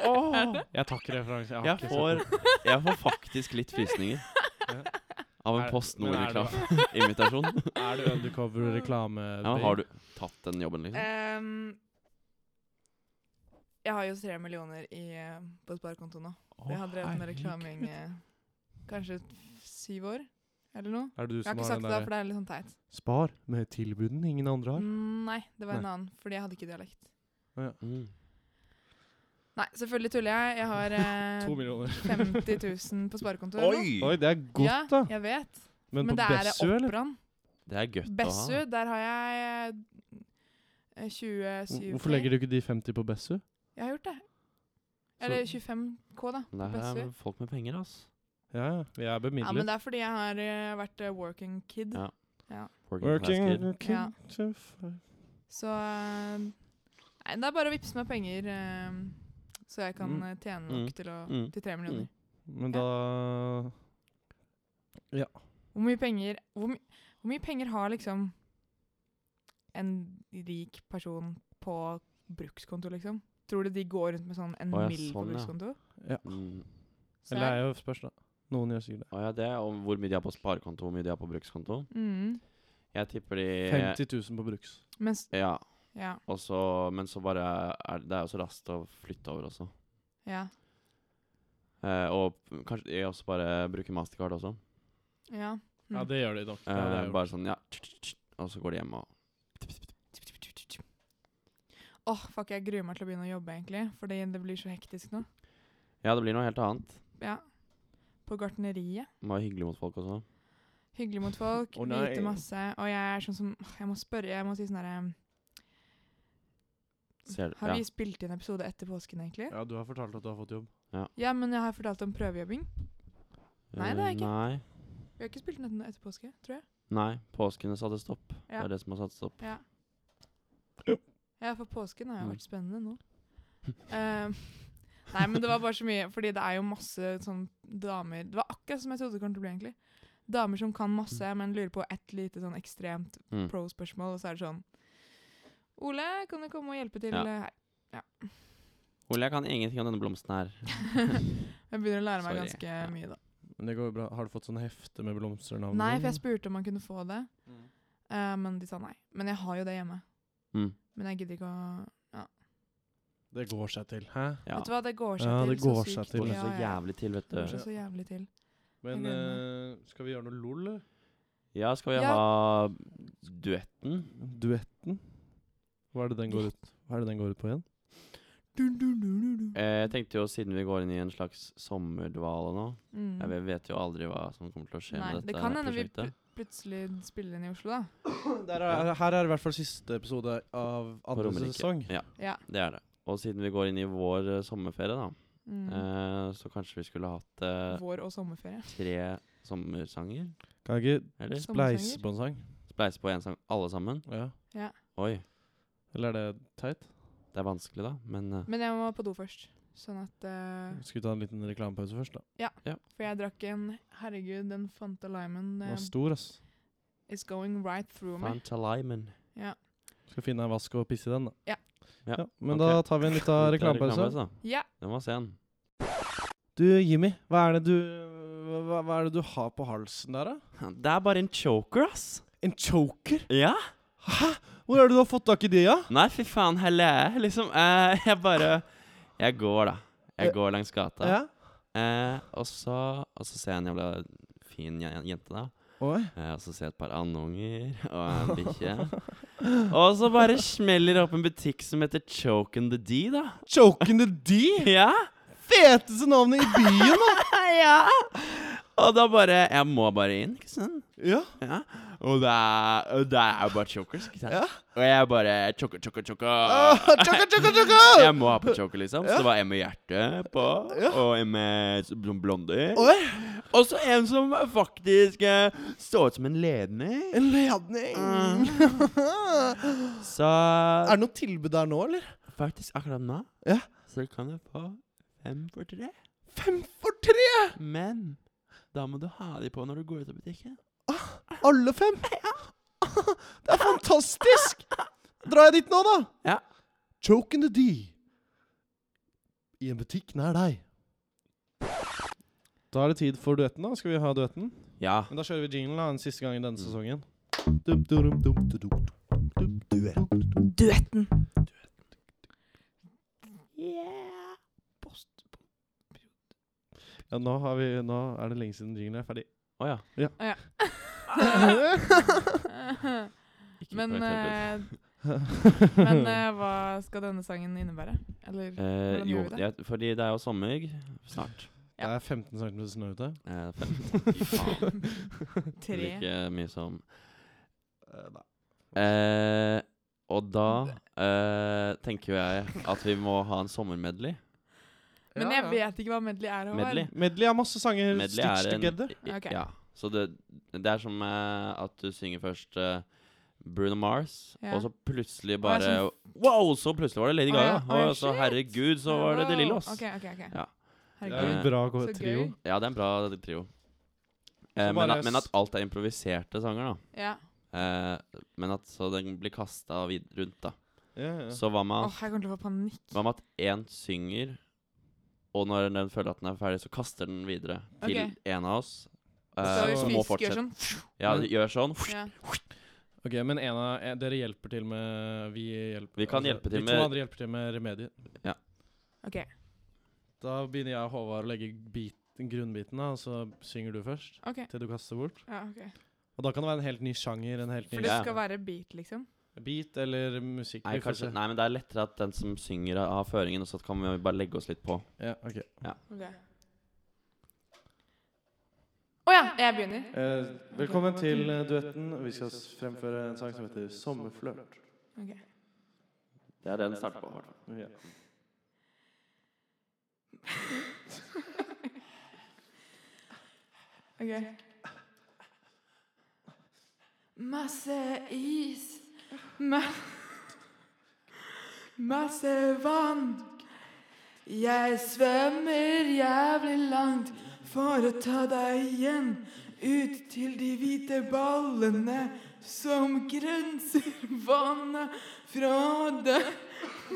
Speaker 1: Jeg tar ikke referanse. Jeg, har
Speaker 2: Jeg
Speaker 1: ikke sett
Speaker 2: får,
Speaker 1: den.
Speaker 2: jeg får faktisk litt frysninger av en
Speaker 1: Er-
Speaker 2: Post
Speaker 1: men er det-
Speaker 2: Nord-invitasjon.
Speaker 1: Er det undercover-reklame?
Speaker 2: Ja, men har du tatt den jobben, liksom?
Speaker 3: Ehm, jeg har jo tre millioner i, eh, på sparekonto nå. Jeg har drevet med reklaming eh, kanskje syv år, eller noe.
Speaker 1: Er det du
Speaker 3: Jeg har
Speaker 1: som har
Speaker 3: ikke sagt
Speaker 1: den
Speaker 3: det, da,
Speaker 1: der
Speaker 3: for det er litt sånn teit.
Speaker 1: Spar med tilbudene ingen andre har.
Speaker 3: Mm, Nei, det var en annen, fordi jeg hadde ikke dialekt.
Speaker 2: Mm.
Speaker 3: Nei, selvfølgelig tuller jeg. Jeg har eh,
Speaker 1: To millioner.
Speaker 3: 50 000 på sparekonto. eller noe.
Speaker 1: Oi, det er godt,
Speaker 3: Ja,
Speaker 1: da.
Speaker 3: jeg vet.
Speaker 1: Men,
Speaker 3: Men
Speaker 1: på
Speaker 3: det er
Speaker 1: Bessu, eller?
Speaker 3: Oppran.
Speaker 2: Det er godt å
Speaker 3: Bessu,
Speaker 2: ha.
Speaker 3: der har jeg eh, 27
Speaker 1: Hvorfor legger du ikke de 50 på Bessu?
Speaker 3: Jeg har gjort det. Eller 25K, da. på
Speaker 2: Det er
Speaker 3: Bessu.
Speaker 2: folk med penger, altså.
Speaker 1: Ja, ja. Vi er
Speaker 3: Ja, men
Speaker 1: bemidlet.
Speaker 3: det er fordi jeg har eh, væt eh, working kid.
Speaker 2: Ja. Working class
Speaker 1: Working
Speaker 2: kid.
Speaker 1: working
Speaker 3: Ja.
Speaker 1: to five.
Speaker 3: Så eh, Nei, det er bare å vippse meg penger, eh, så jeg kan
Speaker 1: Mm.
Speaker 3: eh, tjene
Speaker 2: Mm.
Speaker 3: nok til, å,
Speaker 2: Mm.
Speaker 3: til tre millioner.
Speaker 2: Mm.
Speaker 1: Men da
Speaker 3: Hvor mye penger hvor, my, hvor mye penger har liksom en rik person på brukskonto, liksom? Tror du de går rundt med sånn en
Speaker 2: Å ja,
Speaker 3: mill på
Speaker 2: sånn, ja.
Speaker 3: brukskonto?
Speaker 2: Mm.
Speaker 3: Så
Speaker 1: Eller det
Speaker 3: jeg-
Speaker 1: er jo spørs, da. Noen gjør sikkert det.
Speaker 2: Å ja, det er om hvor mye de har på sparekonto, hvor mye de har på brukskonto.
Speaker 3: Mm.
Speaker 2: Jeg tipper de
Speaker 1: 50 000 på Bruks.
Speaker 3: Mens
Speaker 2: Ja,
Speaker 3: Ja.
Speaker 2: og så, men så bare er det- Det er jo så raskt å flytte over også.
Speaker 3: Ja.
Speaker 2: Eh, og p- kanskje jeg også bare bruker mastercard også.
Speaker 3: ja. Mm.
Speaker 1: Ja, det gjør de nok. Det
Speaker 2: Eh,
Speaker 1: hadde jeg gjort.
Speaker 2: bare sånn, ja Og så går de hjem og
Speaker 3: Åh, fuck, jeg gruer meg til å begynne å jobbe, egentlig. Fordi det blir så hektisk nå.
Speaker 2: Ja, det blir noe helt annet.
Speaker 3: Ja. På gartneriet.
Speaker 2: Må være hyggelig mot folk også.
Speaker 3: Hyggelig mot folk,
Speaker 1: Å, nei.
Speaker 3: vite masse. Og jeg er sånn som åh, Jeg må spørre, jeg må si sånn herre
Speaker 2: Ser du?
Speaker 3: Har
Speaker 2: Ja.
Speaker 3: vi spilt inn episode etter påsken, egentlig?
Speaker 1: Ja, du har fortalt at du har fått jobb.
Speaker 3: Ja, men jeg har fortalt om prøvejobbing. Nei, det er
Speaker 2: Eh,
Speaker 3: ikke.
Speaker 2: Nei.
Speaker 3: Vi har ikke spilt inn etter, etter påske, tror jeg.
Speaker 2: Nei, påskene satte stopp. Det
Speaker 3: Ja.
Speaker 2: er det som har satt stopp.
Speaker 3: Ja. ja, for påsken har jo
Speaker 2: Mm.
Speaker 3: vært spennende nå. Eh, nei, men det var bare så mye Fordi det er jo masse sånn damer Det var akkurat som jeg trodde det kom til å bli, egentlig. Damer som kan masse, men lurer på ett lite sånn ekstremt
Speaker 2: Mm.
Speaker 3: pro-spørsmål, og så er det sånn Ole, kan du komme og hjelpe til
Speaker 2: Ja.
Speaker 3: her?
Speaker 2: Ole, jeg kan ingenting om denne blomsten her.
Speaker 3: Jeg begynner å lære meg
Speaker 2: Sorry.
Speaker 3: ganske
Speaker 2: Ja.
Speaker 3: mye, da.
Speaker 1: Men det går jo bra. Har du fått sånn hefte med blomsternavn?
Speaker 3: Nei,
Speaker 1: og
Speaker 3: for jeg
Speaker 1: sånn?
Speaker 3: spurte om man kunne få det, eh, men de sa nei. Men jeg har jo det hjemme.
Speaker 2: Mm.
Speaker 3: Men jeg gidder ikke å
Speaker 1: sånn? Det går seg til, hæ?
Speaker 2: Ja.
Speaker 3: Vet du hva, det går seg
Speaker 1: Ja,
Speaker 3: til
Speaker 1: det går seg
Speaker 3: så sykt.
Speaker 2: Det
Speaker 1: til.
Speaker 2: går
Speaker 3: Ja,
Speaker 2: så
Speaker 3: ja, ja.
Speaker 2: jævlig til, vet
Speaker 3: Det går
Speaker 2: du.
Speaker 3: seg så jævlig til.
Speaker 1: Men
Speaker 3: Jeg gleder
Speaker 1: eh, skal vi gjøre noe lol, eller?
Speaker 2: Ja, skal vi
Speaker 3: Ja.
Speaker 2: ha duetten?
Speaker 1: Duetten? Hva er det den går ut, hva er det den går ut på igjen?
Speaker 2: Eh, Jeg tenkte jo siden vi går inn i en slags sommerdvale nå
Speaker 3: Mm.
Speaker 2: Jeg vet- vet jo aldri hva som kommer til å skje
Speaker 3: Nei,
Speaker 2: med
Speaker 3: det
Speaker 2: dette
Speaker 3: kan hende vi
Speaker 2: prosjektet.
Speaker 3: plutselig spiller inn i Oslo, da.
Speaker 1: her er i hvert fall siste episode av
Speaker 2: På
Speaker 1: andre
Speaker 2: Romerike.
Speaker 1: sesong.
Speaker 3: Ja.
Speaker 2: Det er det. Og siden vi går inn i vår eh, sommerferie, da,
Speaker 3: Mm.
Speaker 2: eh, så kanskje vi skulle hatt eh,
Speaker 3: Vår og sommerferie.
Speaker 2: tre sommersanger?
Speaker 1: Kan jeg ikke
Speaker 2: Eller
Speaker 1: spleise på en sang?
Speaker 2: spleise på én sang alle sammen?
Speaker 1: Ja.
Speaker 2: Oi,
Speaker 1: Eller er det teit?
Speaker 2: det er vanskelig, da. Men eh,
Speaker 3: Men jeg må på do først. Sånn at eh,
Speaker 1: Skal vi ta en liten reklamepause først, da?
Speaker 3: For jeg drakk en Herregud, den Fanta Limen
Speaker 1: Den
Speaker 3: eh,
Speaker 1: var stor, ass.
Speaker 3: is going right through me.
Speaker 2: Fanta Limen.
Speaker 3: Ja.
Speaker 1: Skal finne en vask og pisse i den, da.
Speaker 3: Ja.
Speaker 2: Ja,
Speaker 1: men
Speaker 2: ok.
Speaker 1: da tar vi en liten
Speaker 2: Det er
Speaker 1: reklamepause.
Speaker 2: da.
Speaker 3: ja.
Speaker 2: Den var sen.
Speaker 1: Du, Jimmy, hva er det du hva, hva er det du har på halsen der, da?
Speaker 2: Det er bare en choker, ass.
Speaker 1: En choker?
Speaker 2: Ja?
Speaker 1: Hvor er det du har fått tak i det, ja?
Speaker 2: Nei, fy faen heller. Liksom, eh, jeg bare Jeg går, da.
Speaker 1: Eh,
Speaker 2: Jeg går langs gata.
Speaker 1: ja?
Speaker 2: Eh, og, så, og så ser jeg en jævla fin je- jente, da.
Speaker 1: Oi.
Speaker 2: Eh, og så ser jeg et par andunger og en bikkje. og så bare smeller det opp en butikk som heter Choke and the D, da.
Speaker 1: Choking the D?
Speaker 2: Ja!
Speaker 1: Feteste navnet i byen, da!
Speaker 2: ja! Og da bare Jeg må bare inn, ikke sant?
Speaker 1: Ja.
Speaker 2: Ja. Og det er, og det er jo bare chokers, ikke sant?
Speaker 1: Ja.
Speaker 2: Og jeg bare choker, choker,
Speaker 1: Ah,
Speaker 2: choker.
Speaker 1: tjokka, tjokka, tjokka!
Speaker 2: Jeg må ha på choker, liksom. Så det var en med hjerte på,
Speaker 1: Ja.
Speaker 2: og en med s- blond- blondie.
Speaker 1: Oi,
Speaker 2: Og så en som faktisk eh, så ut som en ledning.
Speaker 1: en ledning!
Speaker 2: Så
Speaker 1: er det noe tilbud der nå, eller?
Speaker 2: faktisk akkurat nå
Speaker 1: Ja.
Speaker 2: så kan du få fem for tre.
Speaker 1: Fem for tre!
Speaker 2: Men da må du ha de på når du går ut av butikken.
Speaker 1: Alle fem? Det er fantastisk! Drar jeg dit nå, da?
Speaker 2: Ja.
Speaker 1: Choke in the D. I en butikk nær deg. Da er det tid for duetten, da. Skal vi ha duetten?
Speaker 2: Ja.
Speaker 1: Men da kjører vi jinglen da, en siste gang i denne sesongen.
Speaker 3: Duetten.
Speaker 4: Yeah.
Speaker 3: Post.
Speaker 1: Ja, nå, har vi, nå er det lenge siden jinglen er ferdig.
Speaker 2: Å ja. Ikke
Speaker 3: Men,
Speaker 2: karakterbrød.
Speaker 3: eh, men eh, hva skal denne sangen innebære? Eller
Speaker 2: Eh,
Speaker 3: hvordan
Speaker 2: jo,
Speaker 3: gjør vi det?
Speaker 2: jeg, fordi det er jo sommer snart.
Speaker 1: Det er 15 cm snø ute.
Speaker 2: Eh, fem- Fy faen.
Speaker 3: tre
Speaker 2: Like mye som eh, Og da eh, tenker jo jeg at vi må ha en sommermedley.
Speaker 3: Men
Speaker 1: Ja,
Speaker 3: jeg
Speaker 1: ja.
Speaker 3: vet ikke hva medley er. Håvard.
Speaker 2: Medley.
Speaker 1: Medley har masse sanger
Speaker 2: Medley
Speaker 1: stitched
Speaker 2: er en
Speaker 1: together.
Speaker 2: i-
Speaker 3: Ok.
Speaker 2: Ja. Så det, det er som eh, at du synger først eh, Bruno Mars,
Speaker 3: Ja.
Speaker 2: og så plutselig
Speaker 3: Å, jeg
Speaker 2: bare Wow! Så plutselig var det Lady
Speaker 3: Å, ja.
Speaker 2: Gaga.
Speaker 3: Å, ja,
Speaker 2: Og så
Speaker 3: shit.
Speaker 2: herregud, så var det De Lille, ass.
Speaker 3: Ok, ok, ok.
Speaker 2: Ja.
Speaker 1: Det
Speaker 3: Herregud.
Speaker 1: er en
Speaker 2: Eh,
Speaker 1: bra gå-
Speaker 3: Så
Speaker 1: trio.
Speaker 3: gøy.
Speaker 2: Ja, det er en bra trio. Eh,
Speaker 1: Så
Speaker 2: men,
Speaker 1: bare
Speaker 2: at, men
Speaker 1: s-
Speaker 2: at alt er improviserte sanger, da.
Speaker 3: Ja.
Speaker 2: Eh, men at så den blir kasta rundt, da.
Speaker 1: Ja, ja.
Speaker 2: Så hva med,
Speaker 3: Åh,
Speaker 2: at-
Speaker 3: jeg kommer til å få panikk.
Speaker 2: hva med at én synger, og når den føler at den er ferdig, så kaster den videre til
Speaker 3: Ok.
Speaker 2: en av oss. eh,
Speaker 3: Så
Speaker 1: vi
Speaker 2: som
Speaker 3: vi
Speaker 2: må
Speaker 3: fisker
Speaker 2: fortsette.
Speaker 3: sånn.
Speaker 2: Ja, gjør sånn.
Speaker 3: Ja.
Speaker 1: Ok, Men en av eh, dere hjelper til med Vi hjelper
Speaker 2: Vi kan hjelpe til
Speaker 1: de
Speaker 2: med-
Speaker 1: to andre hjelper til med remediet.
Speaker 3: Ok.
Speaker 1: Da begynner jeg og Håvard å legge bit, grunnbiten, da, og så synger du først.
Speaker 3: ok.
Speaker 1: Til du kaster bort.
Speaker 3: Ja, ok.
Speaker 1: Og da kan det være en helt ny sjanger, en helt
Speaker 3: For
Speaker 1: ny
Speaker 3: det
Speaker 2: Ja.
Speaker 3: skal være beat, liksom?
Speaker 1: beat eller musikk.
Speaker 2: Nei,
Speaker 1: vi får
Speaker 2: kanskje,
Speaker 1: se.
Speaker 2: nei, men det er lettere at den som synger, har føringen, og så kan vi bare legge oss litt på.
Speaker 1: Ja, ok.
Speaker 3: Ok. Å ja, jeg begynner.
Speaker 1: Eh, velkommen til eh, duetten. Vi skal s- fremføre en sang som heter 'Sommerflørt'.
Speaker 3: Ok.
Speaker 2: Det er det den starter på. i hvert fall.
Speaker 1: Ja.
Speaker 3: Ok. Masse is. Ma- masse vann. Jeg svømmer jævlig langt for å ta deg igjen ut til de hvite ballene som grenser vannet fra det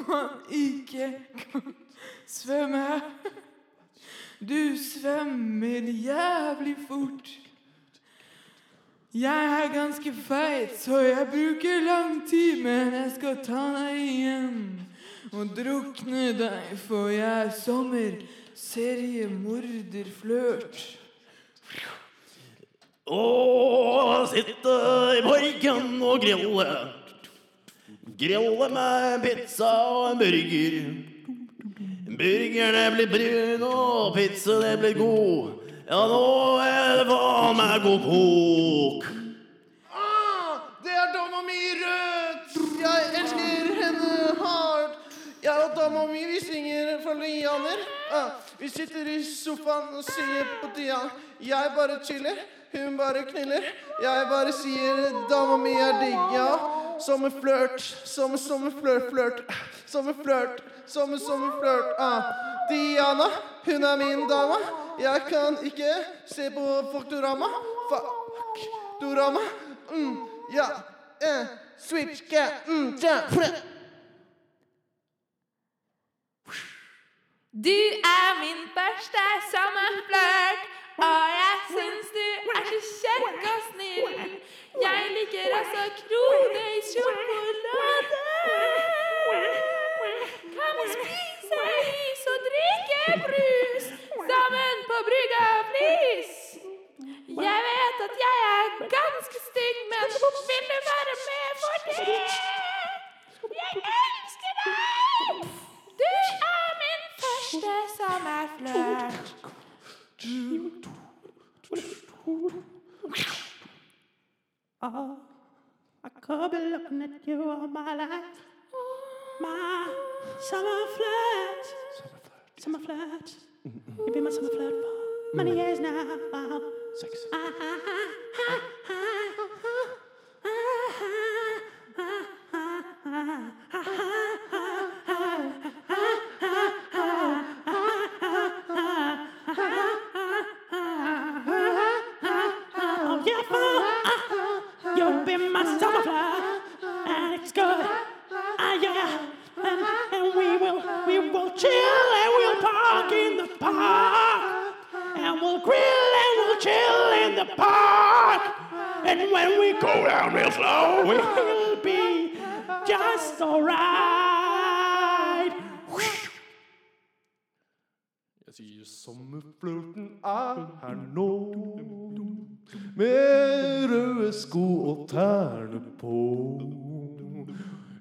Speaker 3: man ikke kan svømme. Du svømmer jævlig fort. Jeg er ganske feit, så jeg bruker lang tid, men jeg skal ta deg igjen og drukne deg, for jeg er sommer, seriemorderflørt.
Speaker 5: Å, sitte i morgen og grille. Grille med pizza og en burger. Burgerne blir brun, og pizzaene blir god. Ja, nå er det faen meg god kok.
Speaker 1: Det er dama mi i rødt! Jeg elsker henne hardt. Jeg og dama mi, vi synger fra lianer. Ah, vi sitter i sofaen og synger på dian. Jeg bare chiller, hun bare kniller. Jeg bare sier dama mi er digg, ja. Sommerflørt, sommer, sommerflørt, flørt. Sommerflørt, sommer, sommerflørt. Ah. Diana, hun er min dama. Jeg kan ikke se på Faktorama. Fuck. Dorama. Mm, ja. Eh, switch, ja. Mm, ja.
Speaker 6: Du er min første sommerflørt, og jeg syns du er så kjekk og snill. Jeg liker også kroner i sjokolade. Kan vi spise is og drikke brus sammen på brygga, please? Jeg vet at jeg er ganske stygg, men vil du være med for det? Jeg elsker deg! Du er min første sommerflørt. Å,
Speaker 4: Oh, I could be looking at you all my life. My summer flirt. Summer flirt. You've been my summer flirt for many years now. Six. Oh, yeah, fun. You'll be my summer flirt. And it's good. Ah, yeah. And, and we will, we will chill and we'll park in the park. And we'll grill and we'll chill in the park. And when we go down real slow, we'll be just alright.
Speaker 1: Jeg sier sommerflørten er her nå. Med røde sko og tærne på.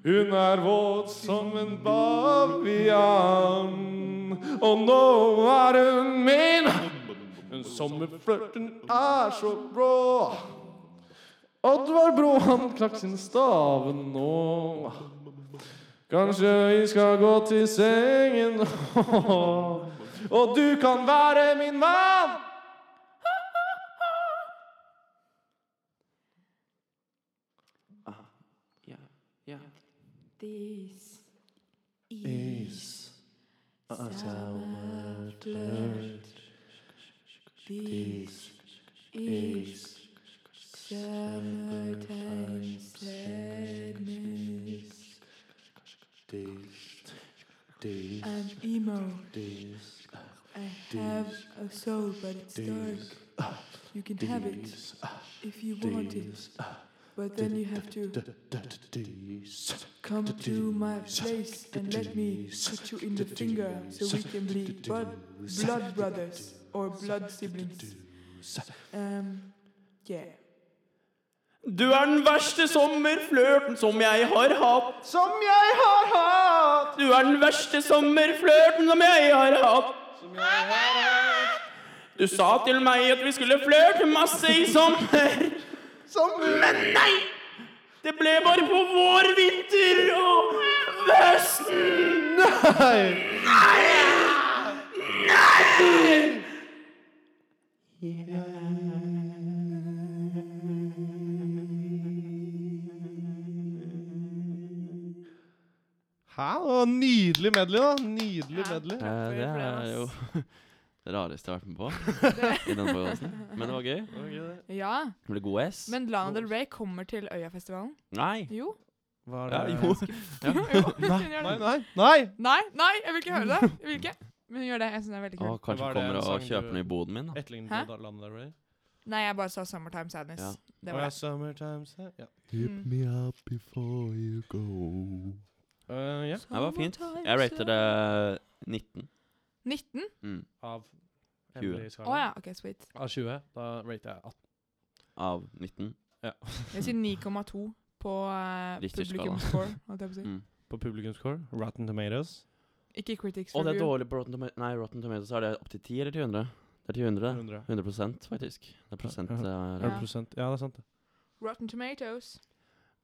Speaker 1: Hun er våt som en bavian. Og nå er hun min. Men sommerflørten er så rå. Oddvar Brå, han knakk sin stave nå. Kanskje vi skal gå til sengen Og du kan være min mann
Speaker 6: This is a summer flirt. This is summertime sadness. I'm emo. I have a soul, but it's dark. You can have it if you want it, but then you have to Come to my place and let me put you in the finger so we can be blood, blood brothers or blood siblings. Um, yeah.
Speaker 5: Du er den verste sommerflørten som jeg har hatt. Som jeg har hatt. Du er den verste sommerflørten som jeg har hatt. Du sa til meg at vi skulle flørte masse i sommer. Men nei! Det ble bare på vår, vinter og høsten. Nei! Nei! Nei!
Speaker 1: Hæ? Det var nydelig medley da Nydelig
Speaker 3: Ja.
Speaker 1: medley
Speaker 2: Eh,
Speaker 3: for
Speaker 2: det
Speaker 3: for den,
Speaker 2: er jo
Speaker 3: ass.
Speaker 2: det rareste jeg har vært med på i denne podcasten. Men det var gøy.
Speaker 3: Ja,
Speaker 2: Det ble god S.
Speaker 3: men Lana Del Rey kommer til Øyafestivalen.
Speaker 2: Nei!
Speaker 3: Jo.
Speaker 1: Hva
Speaker 2: Ja,
Speaker 1: er det?
Speaker 2: jo. Ja.
Speaker 3: jo hun
Speaker 1: Nei,
Speaker 3: gjør det.
Speaker 1: nei, nei, nei
Speaker 3: Nei, nei, jeg vil ikke høre det. Jeg vil ikke. Men hun gjør det. Jeg syns det er veldig
Speaker 2: Og
Speaker 3: kult.
Speaker 2: kanskje
Speaker 1: Var
Speaker 2: hun
Speaker 1: det
Speaker 2: kommer
Speaker 1: en sang
Speaker 2: og
Speaker 1: du-
Speaker 2: kjøper den i boden min. da.
Speaker 1: Ettlingen
Speaker 3: Hæ?
Speaker 1: på Lana Del Rey
Speaker 3: Nei, jeg bare sa 'Summertime Sadness'.
Speaker 2: Ja.
Speaker 1: Å
Speaker 3: Det var
Speaker 1: ja,
Speaker 3: det.
Speaker 1: Summertime Sa- Ja
Speaker 3: Mm.
Speaker 2: me up before you go.
Speaker 1: Eh, ja.
Speaker 2: Det var fint. Jeg eh, rater det 19.
Speaker 3: 19?
Speaker 2: Mm.
Speaker 1: Av
Speaker 2: Tjue.
Speaker 3: Å ja, OK, sweet.
Speaker 1: Av 20 Da rater jeg 18
Speaker 2: Av 19.
Speaker 3: Jeg sier 9,2 på uh,
Speaker 2: Richterskala.
Speaker 3: publikum score. holdt jeg på å si.
Speaker 2: Mm.
Speaker 1: På publikumscore Rotten Tomatoes
Speaker 3: Ikke critics
Speaker 2: Og det er
Speaker 3: review.
Speaker 2: dårlig på Rotten Tomatoes. Nei, Rotten Tomatoes er det opp til 10 eller til 100? Det er til 100.
Speaker 1: 100
Speaker 2: 100 faktisk. Det er prosent.
Speaker 1: Ja.
Speaker 2: eh,
Speaker 3: Ja.
Speaker 1: 100% Ja, det er sant det
Speaker 3: Rotten Tomatoes.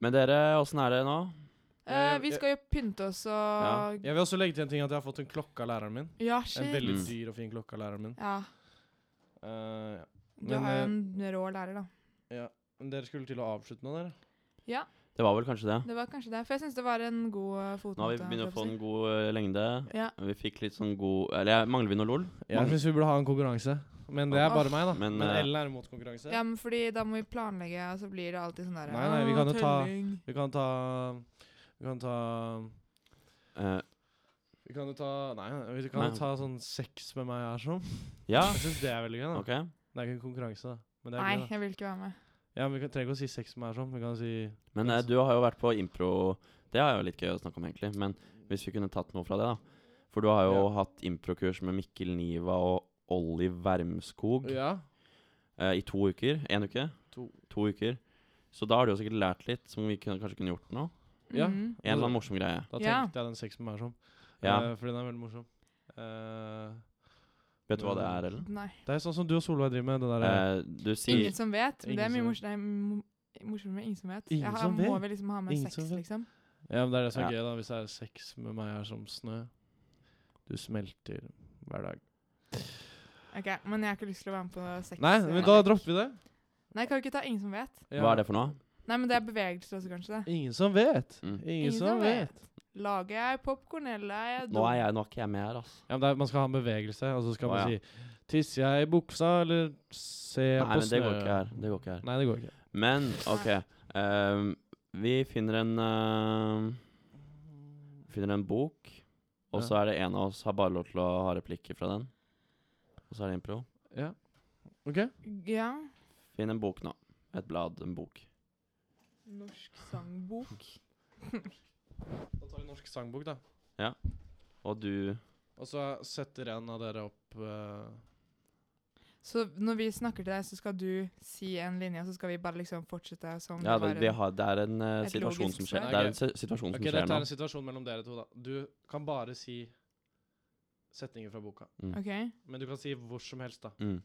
Speaker 2: Men dere, åssen er det nå?
Speaker 3: Eh,
Speaker 1: Jeg-
Speaker 3: vi
Speaker 1: jeg-
Speaker 3: skal jo pynte oss og
Speaker 1: Jeg vil også legge til en ting At jeg har fått en klokke av læreren min
Speaker 3: Ja,
Speaker 1: En
Speaker 3: shit.
Speaker 1: veldig
Speaker 2: Mm.
Speaker 1: dyr og fin klokke av læreren min
Speaker 3: Ja.
Speaker 1: Eh, ja.
Speaker 3: Du
Speaker 1: Men,
Speaker 3: har jo
Speaker 1: eh,
Speaker 3: en rå lærer, da.
Speaker 1: Men dere skulle til å avslutte nå, dere?
Speaker 3: Ja,
Speaker 2: Det var vel kanskje det.
Speaker 3: det var kanskje det. For jeg syns det var en god eh, fotnote.
Speaker 2: Nå har vi begynt å
Speaker 3: holdt
Speaker 2: få en
Speaker 3: jeg på å si.
Speaker 2: god eh, lengde.
Speaker 3: Ja.
Speaker 2: Vi fikk litt sånn god Eller jeg- mangler vi noe LOL?
Speaker 1: Jeg
Speaker 2: Mangler-
Speaker 1: syns vi burde ha en konkurranse. Men det er bare meg, da.
Speaker 2: Men,
Speaker 1: Men,
Speaker 2: eh,
Speaker 1: Ellen er imot konkurranse.
Speaker 3: Ja, men fordi da må vi planlegge, og så blir det alltid sånn derre
Speaker 1: Nei, nei, vi kan jo ta- Vi kan ta Vi kan ta
Speaker 2: Eh,
Speaker 1: Vi kan jo ta Nei, nei, vi kan
Speaker 2: Nei.
Speaker 1: jo ta sånn sex med meg her, sånn.
Speaker 2: ja,
Speaker 1: Jeg syns det er veldig gøy. da
Speaker 2: OK.
Speaker 1: Det er ikke en konkurranse, da. Men det er
Speaker 3: Nei,
Speaker 1: gøy, da.
Speaker 3: jeg vil ikke være med.
Speaker 1: Ja, men Vi kan, trenger ikke å si sex med meg her, sånn. Vi kan si
Speaker 2: Men eh, du har jo vært på impro Det er jo litt gøy å snakke om, egentlig. Men hvis vi kunne tatt noe fra det, da. For du har jo hatt improkurs med Mikkel Niva og Olli Wermskog
Speaker 1: Ja.
Speaker 2: eh, i to uker. Én uke?
Speaker 1: To.
Speaker 2: uker. Så da har du jo sikkert lært litt som vi kunne, kanskje kunne gjort nå.
Speaker 1: Ja.
Speaker 2: En
Speaker 3: Mhm.
Speaker 2: eller annen morsom greie.
Speaker 1: Da tenkte
Speaker 3: Ja.
Speaker 1: jeg den sex med meg her, sånn.
Speaker 2: Ja.
Speaker 1: Eh, for den er veldig morsom. Eh,
Speaker 2: Vet du hva det er, Ellen?
Speaker 3: Nei.
Speaker 1: det er sånn som du og Solveig driver med. Det der,
Speaker 2: Eh, du sier
Speaker 3: Ingen som vet. Men
Speaker 1: Ingen
Speaker 3: det er mye
Speaker 1: som-
Speaker 3: morsomt. Nei, mo- morsommere med ingen som vet.
Speaker 1: Ingen
Speaker 3: jeg, har-
Speaker 1: som
Speaker 3: må
Speaker 1: vet.
Speaker 3: vel liksom ha med
Speaker 1: Ingen som
Speaker 3: sex,
Speaker 1: vet.
Speaker 3: liksom.
Speaker 1: Ja, men det er det som
Speaker 2: Ja.
Speaker 1: er gøy, da. Hvis det er sex med meg er som snø. Du smelter hver dag.
Speaker 3: Ok, Men jeg har ikke lyst til å være med på sex.
Speaker 1: Nei,
Speaker 3: eh,
Speaker 1: men da dropper vi det.
Speaker 3: Nei, kan vi ikke ta ingen som vet?
Speaker 1: Ja.
Speaker 2: Hva er det for noe?
Speaker 3: Nei, men det er bevegelse også, kanskje. det.
Speaker 1: Ingen som vet.
Speaker 2: Mm.
Speaker 1: Ingen, som vet.
Speaker 3: Lager jeg popkorn, eller er jeg
Speaker 2: Nå
Speaker 3: dum?
Speaker 2: er, jeg, nå er ikke jeg med her, altså.
Speaker 1: Ja, men det er, man skal ha en bevegelse, og så skal
Speaker 2: Å,
Speaker 1: man
Speaker 2: ja.
Speaker 1: si 'Tisser jeg i buksa, eller ser jeg
Speaker 2: Nei,
Speaker 1: på
Speaker 2: men
Speaker 1: snø?'
Speaker 2: det går ikke her. Det går ikke her.
Speaker 1: Nei, det går ikke.
Speaker 2: Men OK. ehm, vi finner en ehm, Finner en bok, og så er det en av oss har bare lov til å ha replikker fra den. Og så er det impro.
Speaker 1: Ja. OK?
Speaker 3: Ja.
Speaker 2: Finn en bok nå. Et blad, en bok.
Speaker 3: Norsk sangbok.
Speaker 1: Da tar vi norsk sangbok, da.
Speaker 2: Og du
Speaker 1: Og så setter en av dere opp eh,
Speaker 3: Så når vi snakker til deg, så skal du si en linje, og så skal vi bare liksom fortsette som
Speaker 2: Ja,
Speaker 3: var
Speaker 2: det,
Speaker 3: en-
Speaker 2: vi har, det er en eh,
Speaker 3: et
Speaker 2: situasjon
Speaker 3: logisk
Speaker 2: som skjer.
Speaker 1: svar.
Speaker 2: Det er
Speaker 1: Ok.
Speaker 2: en si- situasjon
Speaker 1: Ok,
Speaker 2: Sånn som skjer
Speaker 1: dette
Speaker 2: nå.
Speaker 1: er en situasjon mellom dere to, da. Du kan bare si setninger fra boka.
Speaker 3: Ok.
Speaker 1: Men du kan si hvor som helst, da.
Speaker 2: Mm.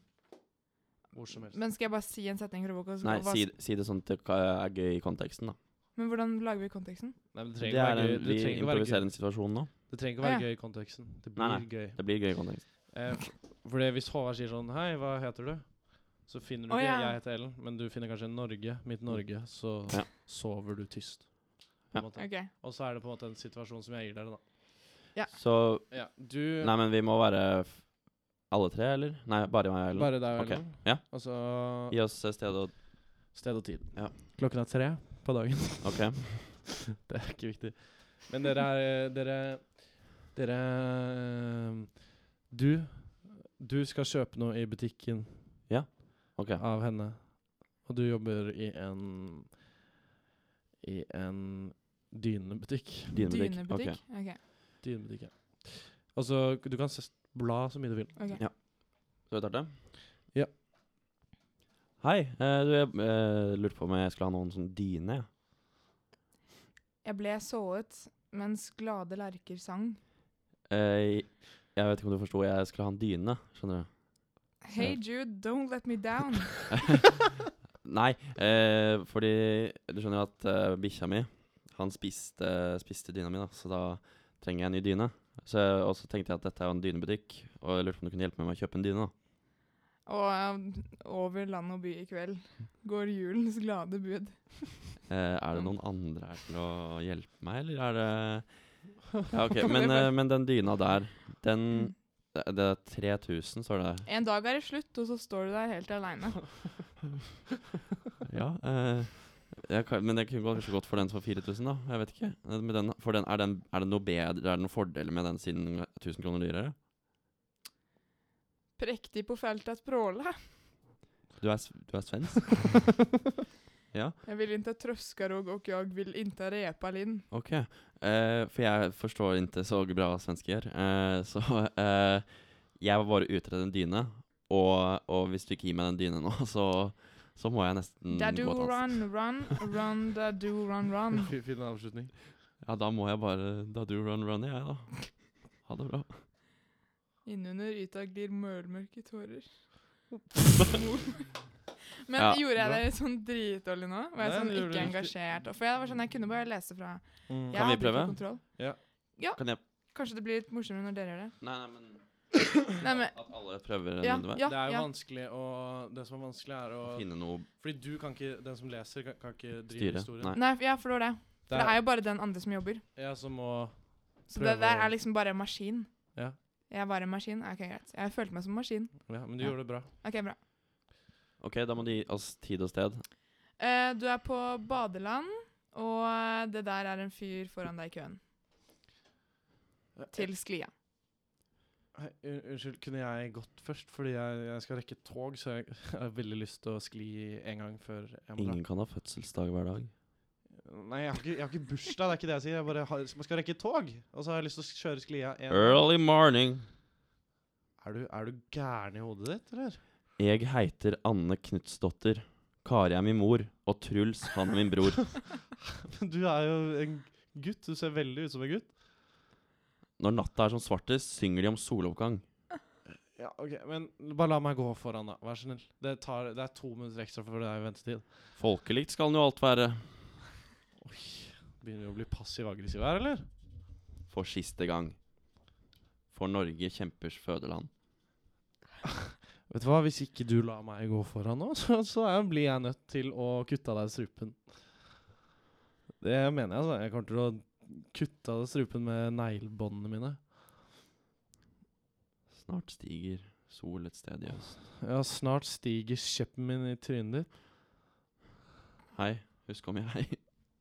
Speaker 1: Hvor som helst.
Speaker 3: Men skal jeg bare si en setning fra boka? og så-
Speaker 2: Nei,
Speaker 3: hva-
Speaker 2: si, si det sånn at det ka- er gøy i konteksten, da.
Speaker 3: Men hvordan lager vi konteksten?
Speaker 1: Nei, men det
Speaker 2: Det
Speaker 1: trenger ikke
Speaker 2: er
Speaker 1: være
Speaker 2: en,
Speaker 1: gøy. Det
Speaker 2: vi
Speaker 1: trenger ikke være
Speaker 2: improviserer
Speaker 1: gøy.
Speaker 2: en situasjon nå.
Speaker 1: Det trenger ikke
Speaker 3: Å,
Speaker 1: være
Speaker 3: ja.
Speaker 1: gøy i konteksten. Det blir
Speaker 2: Nei,
Speaker 1: gøy.
Speaker 2: Det blir gøy i kontekst.
Speaker 1: Eh, f- fordi hvis Håvard sier sånn Hei, hva heter du? Så finner du
Speaker 3: Å,
Speaker 1: ikke
Speaker 3: ja.
Speaker 1: Jeg heter Ellen, men du finner kanskje Norge, mitt Norge, så
Speaker 2: Mm. Ja.
Speaker 1: sover du tyst. På
Speaker 2: Ja.
Speaker 1: en måte.
Speaker 3: Ok.
Speaker 1: Og så er det på en måte en situasjon som jeg gir dere, da.
Speaker 2: Så
Speaker 1: Ja, du
Speaker 2: Nei, men vi må være f- alle tre, eller? Nei, bare meg og Ellen.
Speaker 1: Bare deg og
Speaker 2: Ok,
Speaker 1: Ellen.
Speaker 2: ja.
Speaker 1: Og så
Speaker 2: Gi oss eh, sted og
Speaker 1: sted og tid.
Speaker 2: Ja.
Speaker 1: Klokken er tre på dagen.
Speaker 2: OK.
Speaker 1: det er ikke viktig. Men dere er Dere Dere eh, Du Du skal kjøpe noe i butikken
Speaker 2: ok
Speaker 1: av henne. Og du jobber i en I en dynebutikk.
Speaker 2: Dynebutikk.
Speaker 3: Dynebutikk?
Speaker 2: Ok.
Speaker 3: Ok.
Speaker 1: Dynebutikk, ja. Og så Du kan s- bla så mye du vil.
Speaker 3: ok.
Speaker 2: Ja. Skal vi starte?
Speaker 1: Ja.
Speaker 2: Hei. eh, du, jeg eh, lurte på om jeg skulle ha noen sånn dyne. jeg.
Speaker 3: Jeg ble såret mens glade lerker sang.
Speaker 2: Eh, jeg vet ikke om du forsto, jeg skulle ha en dyne, skjønner du.
Speaker 3: Hey Jude, don't let me down.
Speaker 2: Nei, eh, fordi du skjønner jo at eh, bikkja mi, han spiste, spiste dyna mi, da, så da trenger jeg en ny dyne. Så, og så tenkte jeg at dette er jo en dynebutikk, og jeg lurte på om du kunne hjelpe meg med å kjøpe en dyne. da.
Speaker 3: Og um, over land og by i kveld går julens glade bud.
Speaker 2: Eh, er det noen andre her til å hjelpe meg, eller er det Ja, ok,
Speaker 3: Kom igjen,
Speaker 2: men,
Speaker 3: bare.
Speaker 2: eh, men den dyna der, den
Speaker 3: Mm.
Speaker 2: Det det er 3000, står det der.
Speaker 3: En dag er det slutt, og så står du der helt aleine.
Speaker 2: Ja, eh, jeg kan, men jeg kunne godt- kanskje gått for den for 4000, da. Jeg vet ikke. Eh, Med den, for den, er, den, er det noe bedre, er det noen fordeler med den siden den er 1000 kroner dyrere?
Speaker 3: Prektig på feltet pråle.
Speaker 2: Du er, s- du er svensk?
Speaker 3: Jeg vill inte tröska rog och jag vill inte repa linn.
Speaker 2: Ok. Eh, for jeg forstår ikke så bra svensk gjør. Eh, så eh, jeg var bare ute etter en dyne, og, og hvis du ikke gir meg den dynen nå, så, så må jeg nesten
Speaker 3: Da
Speaker 2: gå
Speaker 3: do
Speaker 2: et annet sted.
Speaker 3: run, run, run, da do run, run.
Speaker 1: Fin fin avslutning.
Speaker 2: Ja, da må jeg bare Da do run run, jeg, da. Ha det bra.
Speaker 3: Innunder yta glir mølmørke tårer. Men
Speaker 2: Ja.
Speaker 3: gjorde jeg det sånn dritdårlig nå? Var jeg
Speaker 1: Nei,
Speaker 3: sånn
Speaker 1: det gjorde
Speaker 3: ikke
Speaker 1: du ikke.
Speaker 3: engasjert? Og For jeg var sånn, jeg kunne bare lese fra.
Speaker 1: Mm.
Speaker 3: Jeg
Speaker 2: Kan vi
Speaker 3: hadde ikke
Speaker 2: prøve?
Speaker 3: kontroll.
Speaker 2: Kan jeg
Speaker 3: Kanskje det blir litt morsommere når dere gjør det.
Speaker 2: Nei, nei, men Mm.
Speaker 3: Nei, men,
Speaker 2: At alle prøver
Speaker 3: ja,
Speaker 2: nødvendigvis.
Speaker 3: ja,
Speaker 1: det er jo
Speaker 3: ja.
Speaker 1: vanskelig å Det som er vanskelig, er å
Speaker 2: Finne noe
Speaker 1: Fordi du kan ikke Den som leser, kan, kan ikke drive
Speaker 2: styre.
Speaker 1: historien.
Speaker 2: Nei.
Speaker 3: Nei, ja, for det var det.
Speaker 1: Det
Speaker 3: For det er jo bare den andre som jobber.
Speaker 1: jeg som må
Speaker 3: Så
Speaker 1: Prøve
Speaker 3: det der
Speaker 1: å-
Speaker 3: er liksom bare en maskin.
Speaker 1: Ja.
Speaker 3: Jeg var en maskin. Ok, greit. Jeg følte meg som en maskin.
Speaker 1: Ja, men du
Speaker 2: Ja.
Speaker 1: gjorde det bra.
Speaker 3: Ok, bra.
Speaker 2: Ok, da må du gi oss tid og sted.
Speaker 3: Eh, du er på badeland, og det der er en fyr foran deg i køen. Til sklia.
Speaker 1: Hei, un- Eh, Unnskyld, kunne jeg gått først? Fordi jeg, jeg skal rekke et tog, så jeg har veldig lyst til å skli en gang før jeg må dra.
Speaker 2: Ingen kan ha fødselsdag hver dag.
Speaker 1: Nei, jeg har, ikke, jeg har ikke bursdag, det er ikke det jeg sier. Jeg bare har, man skal rekke et tog, og så har jeg lyst til å kjøre sklia en
Speaker 2: Early morning.
Speaker 1: Er du, er du gæren i hodet ditt, eller?
Speaker 2: Jeg heiter Anne Knutsdotter. Kari er min mor, og Truls, han er min bror.
Speaker 1: Du er jo en gutt. Du ser veldig ut som en gutt.
Speaker 2: Når natta er som svartest, synger de om soloppgang.
Speaker 1: Ja, ok, Men bare la meg gå foran, da. Vær så snill. Det, tar, det er to minutter ekstra for deg i ventetid.
Speaker 2: Folkelikt skal den jo alt være.
Speaker 1: Oi. Begynner du å bli passiv-aggressiv her, eller?
Speaker 2: For siste gang. For Norge kjempers fødeland.
Speaker 1: Vet du hva, Hvis ikke du lar meg gå foran nå, så, så er, blir jeg nødt til å kutte av deg strupen. Det mener jeg, altså. Jeg kommer til å kutte av deg strupen med neglebåndene mine.
Speaker 2: Snart stiger sol et sted i øst.
Speaker 1: Ja, Snart stiger kjeppen min i trynet ditt.
Speaker 2: Hei, husk om jeg hei.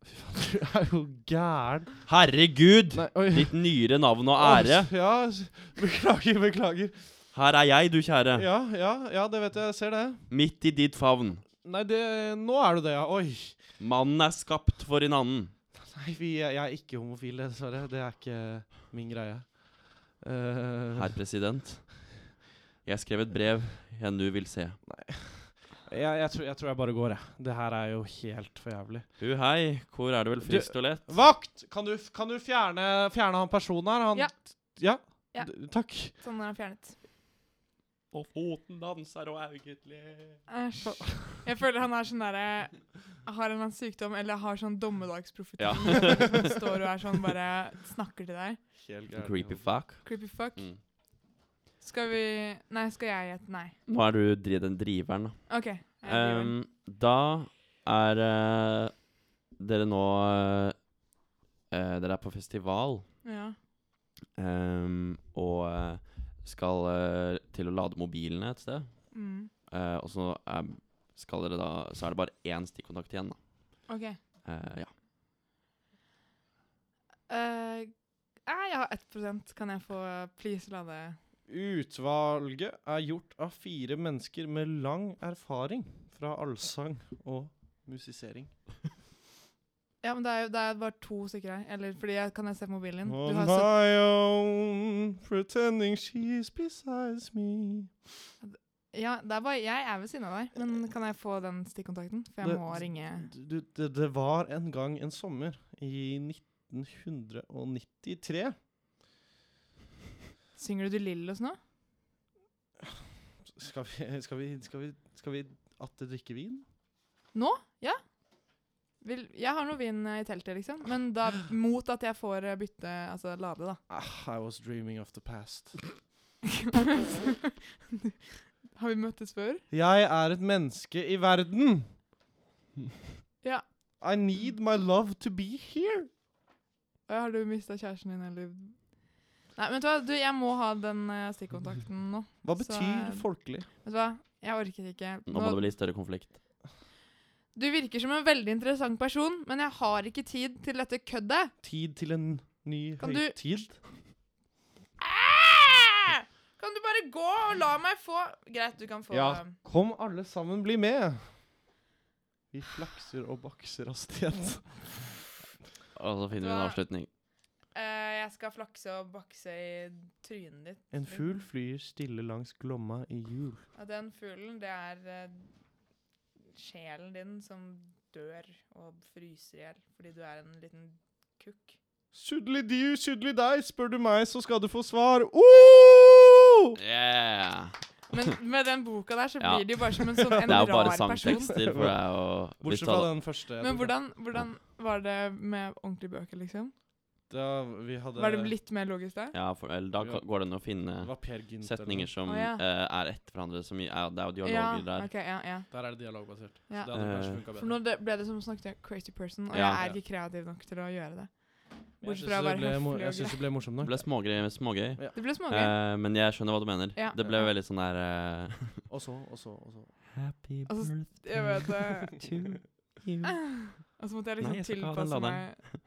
Speaker 1: Fy faen, du er jo gæren.
Speaker 2: Herregud!
Speaker 1: Nei, oi.
Speaker 2: Ditt nyere navn og ære.
Speaker 1: Ja, beklager, beklager.
Speaker 2: Her er jeg, du kjære.
Speaker 1: Ja, ja, ja, det vet jeg. Jeg ser det.
Speaker 2: Midt i ditt favn.
Speaker 1: Nei, det, nå er du det, ja. Oi.
Speaker 2: Mannen er skapt for en annen.
Speaker 1: Nei, vi, jeg er ikke homofil, dessverre. Det er ikke min greie. Eh,
Speaker 2: Herr president, jeg skrev et brev enn du vil se.
Speaker 1: jeg, jeg, tror, jeg tror jeg bare går, jeg. Det her er jo helt for jævlig.
Speaker 2: Hu hei, hvor er det vel frist og lett?
Speaker 1: Vakt! Kan du, f- kan du fjerne, fjerne han personen her? Han,
Speaker 3: Ja.
Speaker 1: Ja?
Speaker 3: Ja.
Speaker 1: D- Takk.
Speaker 3: Sånn er han fjernet.
Speaker 2: Og foten danser og augutlig.
Speaker 3: Æsj. Jeg føler han er sånn derre Har en eller annen sykdom eller har sånn dommedagsprofeti.
Speaker 2: Ja.
Speaker 3: Står og er sånn bare Snakker til deg.
Speaker 2: Creepy fuck.
Speaker 3: Creepy fuck.
Speaker 2: Mm.
Speaker 3: Skal vi Nei, skal jeg gjette? Nei.
Speaker 2: Nå er du dri- den driveren, da.
Speaker 3: OK. jeg driver.
Speaker 2: Ehm, da er eh, dere nå eh, eh, Dere er på festival
Speaker 3: ja.
Speaker 2: ehm, og eh, skal eh, til å lade mobilene et sted.
Speaker 3: Mm.
Speaker 2: Eh, og så eh, skal dere da Så er det bare én stikkontakt igjen, da.
Speaker 3: OK.
Speaker 2: Eh, ja.
Speaker 3: Eh, nei, jeg har 1 Kan jeg få please lade
Speaker 1: Utvalget er gjort av fire mennesker med lang erfaring fra allsang og musisering.
Speaker 3: Ja, men det er jo det er bare to stykker her. Eller fordi jeg kan jeg se på mobilen din?
Speaker 1: On
Speaker 3: Du har sett
Speaker 1: my own, pretending she's besides me.
Speaker 3: Ja, det er bare Jeg er ved siden av deg, men kan jeg få den stikkontakten? For jeg
Speaker 1: Det-
Speaker 3: må ringe
Speaker 1: Du, det, det var en gang en sommer i 1993.
Speaker 3: Synger du sånn Lillos nå?
Speaker 1: Skal vi, skal vi, skal vi, skal vi atter drikke vin?
Speaker 3: Nå? Ja. Vil, jeg har noe vin eh, i teltet, liksom. Men da mot at jeg får eh, bytte Altså lade, da.
Speaker 1: Ah, I was dreaming of the past.
Speaker 3: har vi møttes før?
Speaker 1: Jeg er et menneske i verden.
Speaker 3: Ja.
Speaker 1: I need my love to be here.
Speaker 3: Og Har du mista kjæresten din, eller Nei, vet du hva, du, jeg må ha den eh, stikkontakten nå.
Speaker 1: Hva
Speaker 3: Så eh,
Speaker 1: betyr
Speaker 3: er-
Speaker 1: folkelig?
Speaker 3: Vet du hva, jeg orket ikke.
Speaker 2: Nå må det bli større konflikt.
Speaker 3: du virker som en veldig interessant person, men jeg har ikke tid til dette køddet.
Speaker 1: Tid til en ny
Speaker 3: Kan du-
Speaker 1: høytid?
Speaker 3: Æ! Kan du bare gå og la meg få Greit, du kan få um,
Speaker 1: Ja. Kom alle sammen, bli med. Vi flakser og bakser av sted.
Speaker 2: Og så finner vi en
Speaker 3: Da-
Speaker 2: avslutning.
Speaker 3: eh, Jeg skal flakse og bakse i trynet ditt.
Speaker 1: En fugl flyr stille langs Glomma i jul.
Speaker 3: Og den fuglen, det er eh, sjelen din som dør og fryser i hjel fordi du er en liten kukk.
Speaker 1: Suddeli du, suddeli deg, spør du meg, så skal du få svar. Oh!
Speaker 2: Yeah!
Speaker 3: Men med den boka der så
Speaker 2: Ja.
Speaker 3: blir det jo bare som en sånn en
Speaker 2: Det er jo bare
Speaker 3: rar person.
Speaker 2: sangtekster. For det er jo hvis
Speaker 1: Bortsett
Speaker 2: alle-
Speaker 1: fra den første.
Speaker 3: Men hvordan, hvordan var det med ordentlige bøker, liksom?
Speaker 1: Da vi hadde
Speaker 3: Var det litt mer logisk der?
Speaker 2: Ja, for, eller da
Speaker 1: Ja.
Speaker 2: ka- går det an å finne
Speaker 1: Det var Per Gynt. eller noe.
Speaker 2: setninger som
Speaker 3: Å, ja.
Speaker 2: eh, er etter hverandre. Som, i- er- det er jo dialoger der.
Speaker 3: ok, ja, ja.
Speaker 1: Der er det dialogbasert.
Speaker 3: Ja.
Speaker 1: Så det hadde kanskje
Speaker 2: Eh,
Speaker 1: funka bedre.
Speaker 3: For nå det- ble det som å snakke til en crazy person, og
Speaker 2: Ja.
Speaker 3: jeg er ikke kreativ nok til å gjøre det.
Speaker 1: Jeg
Speaker 3: Bortsett
Speaker 1: syns
Speaker 3: fra å
Speaker 1: det
Speaker 3: være
Speaker 1: ble mo-
Speaker 3: høflig
Speaker 1: Jeg
Speaker 3: og grei.
Speaker 1: syns det ble morsomt
Speaker 2: Det
Speaker 1: nok.
Speaker 2: ble smågøy, smågøy.
Speaker 1: Ja.
Speaker 3: Det ble smågøy.
Speaker 2: Eh, men jeg skjønner hva du mener.
Speaker 3: Ja.
Speaker 2: Det ble veldig sånn der eh,
Speaker 1: Og så, og så, og så.
Speaker 2: Happy
Speaker 3: Altså, s- jeg vet det.
Speaker 2: to you.
Speaker 3: Og så måtte jeg
Speaker 2: Nei,
Speaker 3: liksom
Speaker 2: jeg skal ikke ha den
Speaker 3: tilpasse
Speaker 2: laderen.
Speaker 3: meg.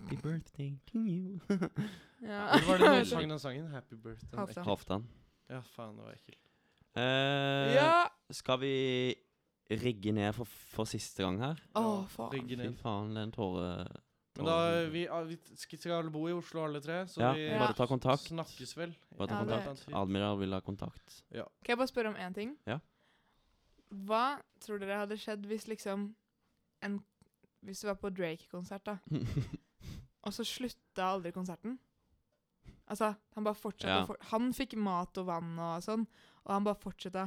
Speaker 2: Happy birthday to you.
Speaker 3: Ja.
Speaker 1: Hvor var det du sang den sangen? Happy birthday.
Speaker 3: Halvdan.
Speaker 2: Halvdan.
Speaker 1: Ja, faen, det var ekkelt.
Speaker 2: Eh,
Speaker 3: Ja!
Speaker 2: Skal vi rigge ned for, for siste gang her?
Speaker 3: Å, faen.
Speaker 1: Rygge
Speaker 2: Fy
Speaker 1: ned.
Speaker 2: faen, den tåre...
Speaker 1: Men da, vi, ah, vi skal skal bo i Oslo alle tre, så
Speaker 2: Ja,
Speaker 1: vi
Speaker 3: Ja.
Speaker 2: bare ta kontakt.
Speaker 1: snakkes vel.
Speaker 2: Bare ta
Speaker 3: Ja, det-
Speaker 2: kontakt. Admiral vil ha kontakt.
Speaker 3: Kan jeg bare spørre om én ting?
Speaker 2: Ja.
Speaker 3: Hva tror dere hadde skjedd hvis liksom en Hvis du var på Drake-konsert, da, og så slutta aldri konserten? Altså, han bare fortsatte.
Speaker 2: Ja.
Speaker 3: å For han fikk mat og vann og sånn, og han bare fortsatte.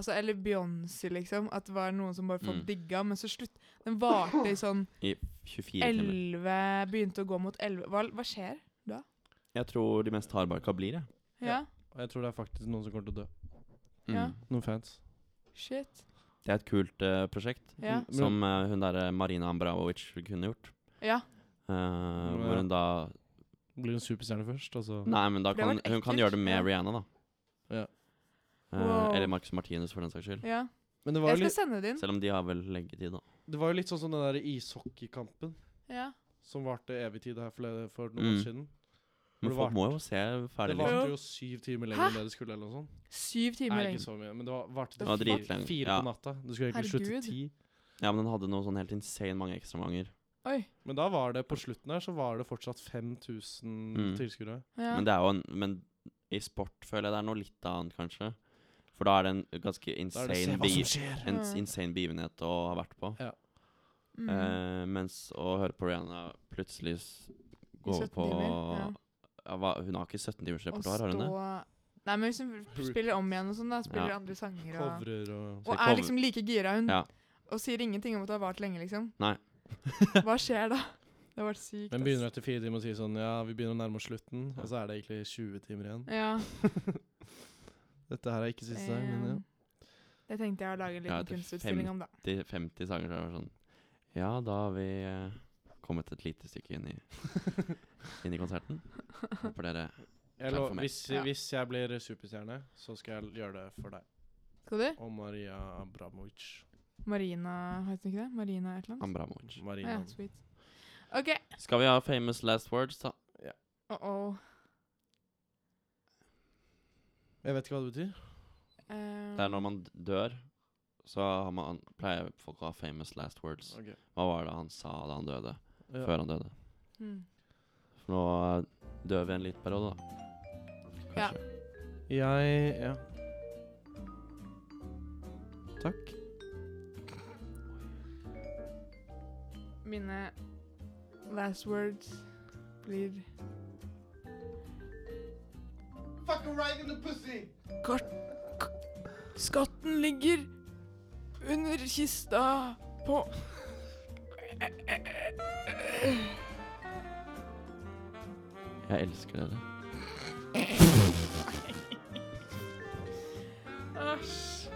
Speaker 3: Altså, eller Beyoncé, liksom. At det var noen som bare folk
Speaker 2: Mm.
Speaker 3: digga, men så slutt... Den varte i sånn
Speaker 2: 24 timer.
Speaker 3: 11 Begynte å gå mot 11 Hva, hva skjer?
Speaker 2: Jeg tror de mest hardbarka blir, jeg.
Speaker 3: Ja?
Speaker 1: Og jeg tror det er faktisk noen som kommer til å dø.
Speaker 2: Mm.
Speaker 3: Ja.
Speaker 1: Noen fans.
Speaker 3: Shit.
Speaker 2: Det er et kult eh, prosjekt,
Speaker 3: Ja.
Speaker 1: Men-
Speaker 2: som eh, hun derre Marina Ambraovic kunne gjort.
Speaker 3: Ja.
Speaker 2: Eh, Hvor hun da
Speaker 1: Blir hun superstjerne først, altså. og så
Speaker 2: Nei, men da
Speaker 3: For det har
Speaker 2: kan
Speaker 3: vært
Speaker 2: hun kan
Speaker 3: ekkelt.
Speaker 2: gjøre det med
Speaker 3: Ja.
Speaker 2: Rihanna, da.
Speaker 1: Ja.
Speaker 2: Eh,
Speaker 3: Wow.
Speaker 2: Eller Marcus Martinez, for den saks skyld.
Speaker 3: ja.
Speaker 1: Men det var,
Speaker 3: Jeg
Speaker 1: jo
Speaker 3: skal
Speaker 1: litt,
Speaker 3: sende det inn.
Speaker 2: Selv om de har vel leggetid, da.
Speaker 1: det var jo litt sånn som den der ishockeykampen
Speaker 3: Ja.
Speaker 1: som varte evig tid her for, for noen
Speaker 2: Mm.
Speaker 1: år siden.
Speaker 2: Men
Speaker 1: det
Speaker 2: folk
Speaker 1: varte-
Speaker 2: må jo se
Speaker 1: Det
Speaker 2: ferdig. liksom.
Speaker 1: varte jo syv timer lenger enn det det skulle. eller noe sånt.
Speaker 3: Syv timer
Speaker 1: Nei,
Speaker 3: lenger.
Speaker 1: ikke så mye, men det var, varte
Speaker 3: Det var
Speaker 1: til fire,
Speaker 2: dritlenge,
Speaker 1: fire
Speaker 2: ja.
Speaker 1: på natta. Du skulle egentlig slutte
Speaker 3: Herregud.
Speaker 1: ti.
Speaker 2: Ja, men den hadde noe sånn helt insane mange ekstravanger.
Speaker 3: Oi.
Speaker 1: Men da var det på slutten her, så var det fortsatt 5000
Speaker 2: Mm.
Speaker 1: tilskuere.
Speaker 3: Ja.
Speaker 2: Men det er jo en Men i sport føler jeg det er noe litt annet, kanskje. For da er det en ganske
Speaker 1: Da er det
Speaker 2: insane,
Speaker 1: se hva
Speaker 2: begiv-
Speaker 1: som skjer.
Speaker 2: en
Speaker 3: Ja.
Speaker 2: insane begivenhet å ha vært på.
Speaker 3: mm.
Speaker 2: Eh, mens å høre på Rihanna plutselig s- gå over
Speaker 3: 17
Speaker 2: på
Speaker 3: timer, ja.
Speaker 2: Ja, hva, hun har ikke 17 timers
Speaker 3: Å
Speaker 2: repertoar, har hun det?
Speaker 3: Nei, men hvis hun spiller om igjen og sånn, da spiller
Speaker 2: Ja.
Speaker 3: andre sanger og
Speaker 1: Covrer og sånn.
Speaker 3: Og
Speaker 2: Skal
Speaker 3: er
Speaker 2: cover-
Speaker 3: liksom like gira hun,
Speaker 2: Ja.
Speaker 3: og sier ingenting om at det har vart lenge, liksom.
Speaker 2: Nei.
Speaker 3: Hva skjer da? Det har vært sykt.
Speaker 1: Men
Speaker 3: ass.
Speaker 1: begynner etter fire timer å si sånn Ja, vi begynner å nærme oss slutten, og så er det egentlig 20 timer igjen.
Speaker 3: Ja.
Speaker 1: Dette her er ikke siste dag, men ja.
Speaker 3: ehm, Det tenkte jeg å lage
Speaker 2: Ja,
Speaker 3: en liten
Speaker 2: etter
Speaker 3: kunstutstilling om, da.
Speaker 2: 50, 50 sanger, så er det sånn Ja, da har vi eh, kommet et lite stykke inn i, inn i konserten. Håper dere
Speaker 1: Jeg
Speaker 2: Takk
Speaker 1: lo,
Speaker 2: for meg.
Speaker 1: hvis,
Speaker 3: Ja.
Speaker 1: hvis jeg blir superstjerne, så skal jeg gjøre det for deg.
Speaker 3: Skal du?
Speaker 1: Og Maria Abramovic.
Speaker 3: Marina Heter hun ikke det? Marina et eller annet?
Speaker 2: Ambramovic.
Speaker 3: Ah,
Speaker 1: Marina.
Speaker 3: ja, sweet. OK.
Speaker 2: Skal vi ha famous last words, da?
Speaker 3: Uh-oh.
Speaker 1: Jeg vet ikke hva det betyr.
Speaker 2: Det
Speaker 3: Um, Mm.
Speaker 2: er når man d- dør, så har man, pleier folk å ha famous last words.
Speaker 1: Ok.
Speaker 2: Hva var det han sa da han døde?
Speaker 1: Ja.
Speaker 2: Før han døde.
Speaker 3: mm.
Speaker 2: For nå eh, dør vi en liten periode, da.
Speaker 3: Ja.
Speaker 2: Kanskje.
Speaker 1: Jeg Ja. Takk.
Speaker 3: Mine last words blir Fuck right in the pussy! Skatten ligger under kista på
Speaker 2: Jeg elsker dere.
Speaker 3: Æsj.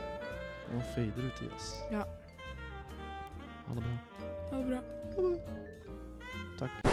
Speaker 1: Nå fader uti, ass.
Speaker 2: Ha det bra.
Speaker 3: Ha det bra.
Speaker 1: Takk.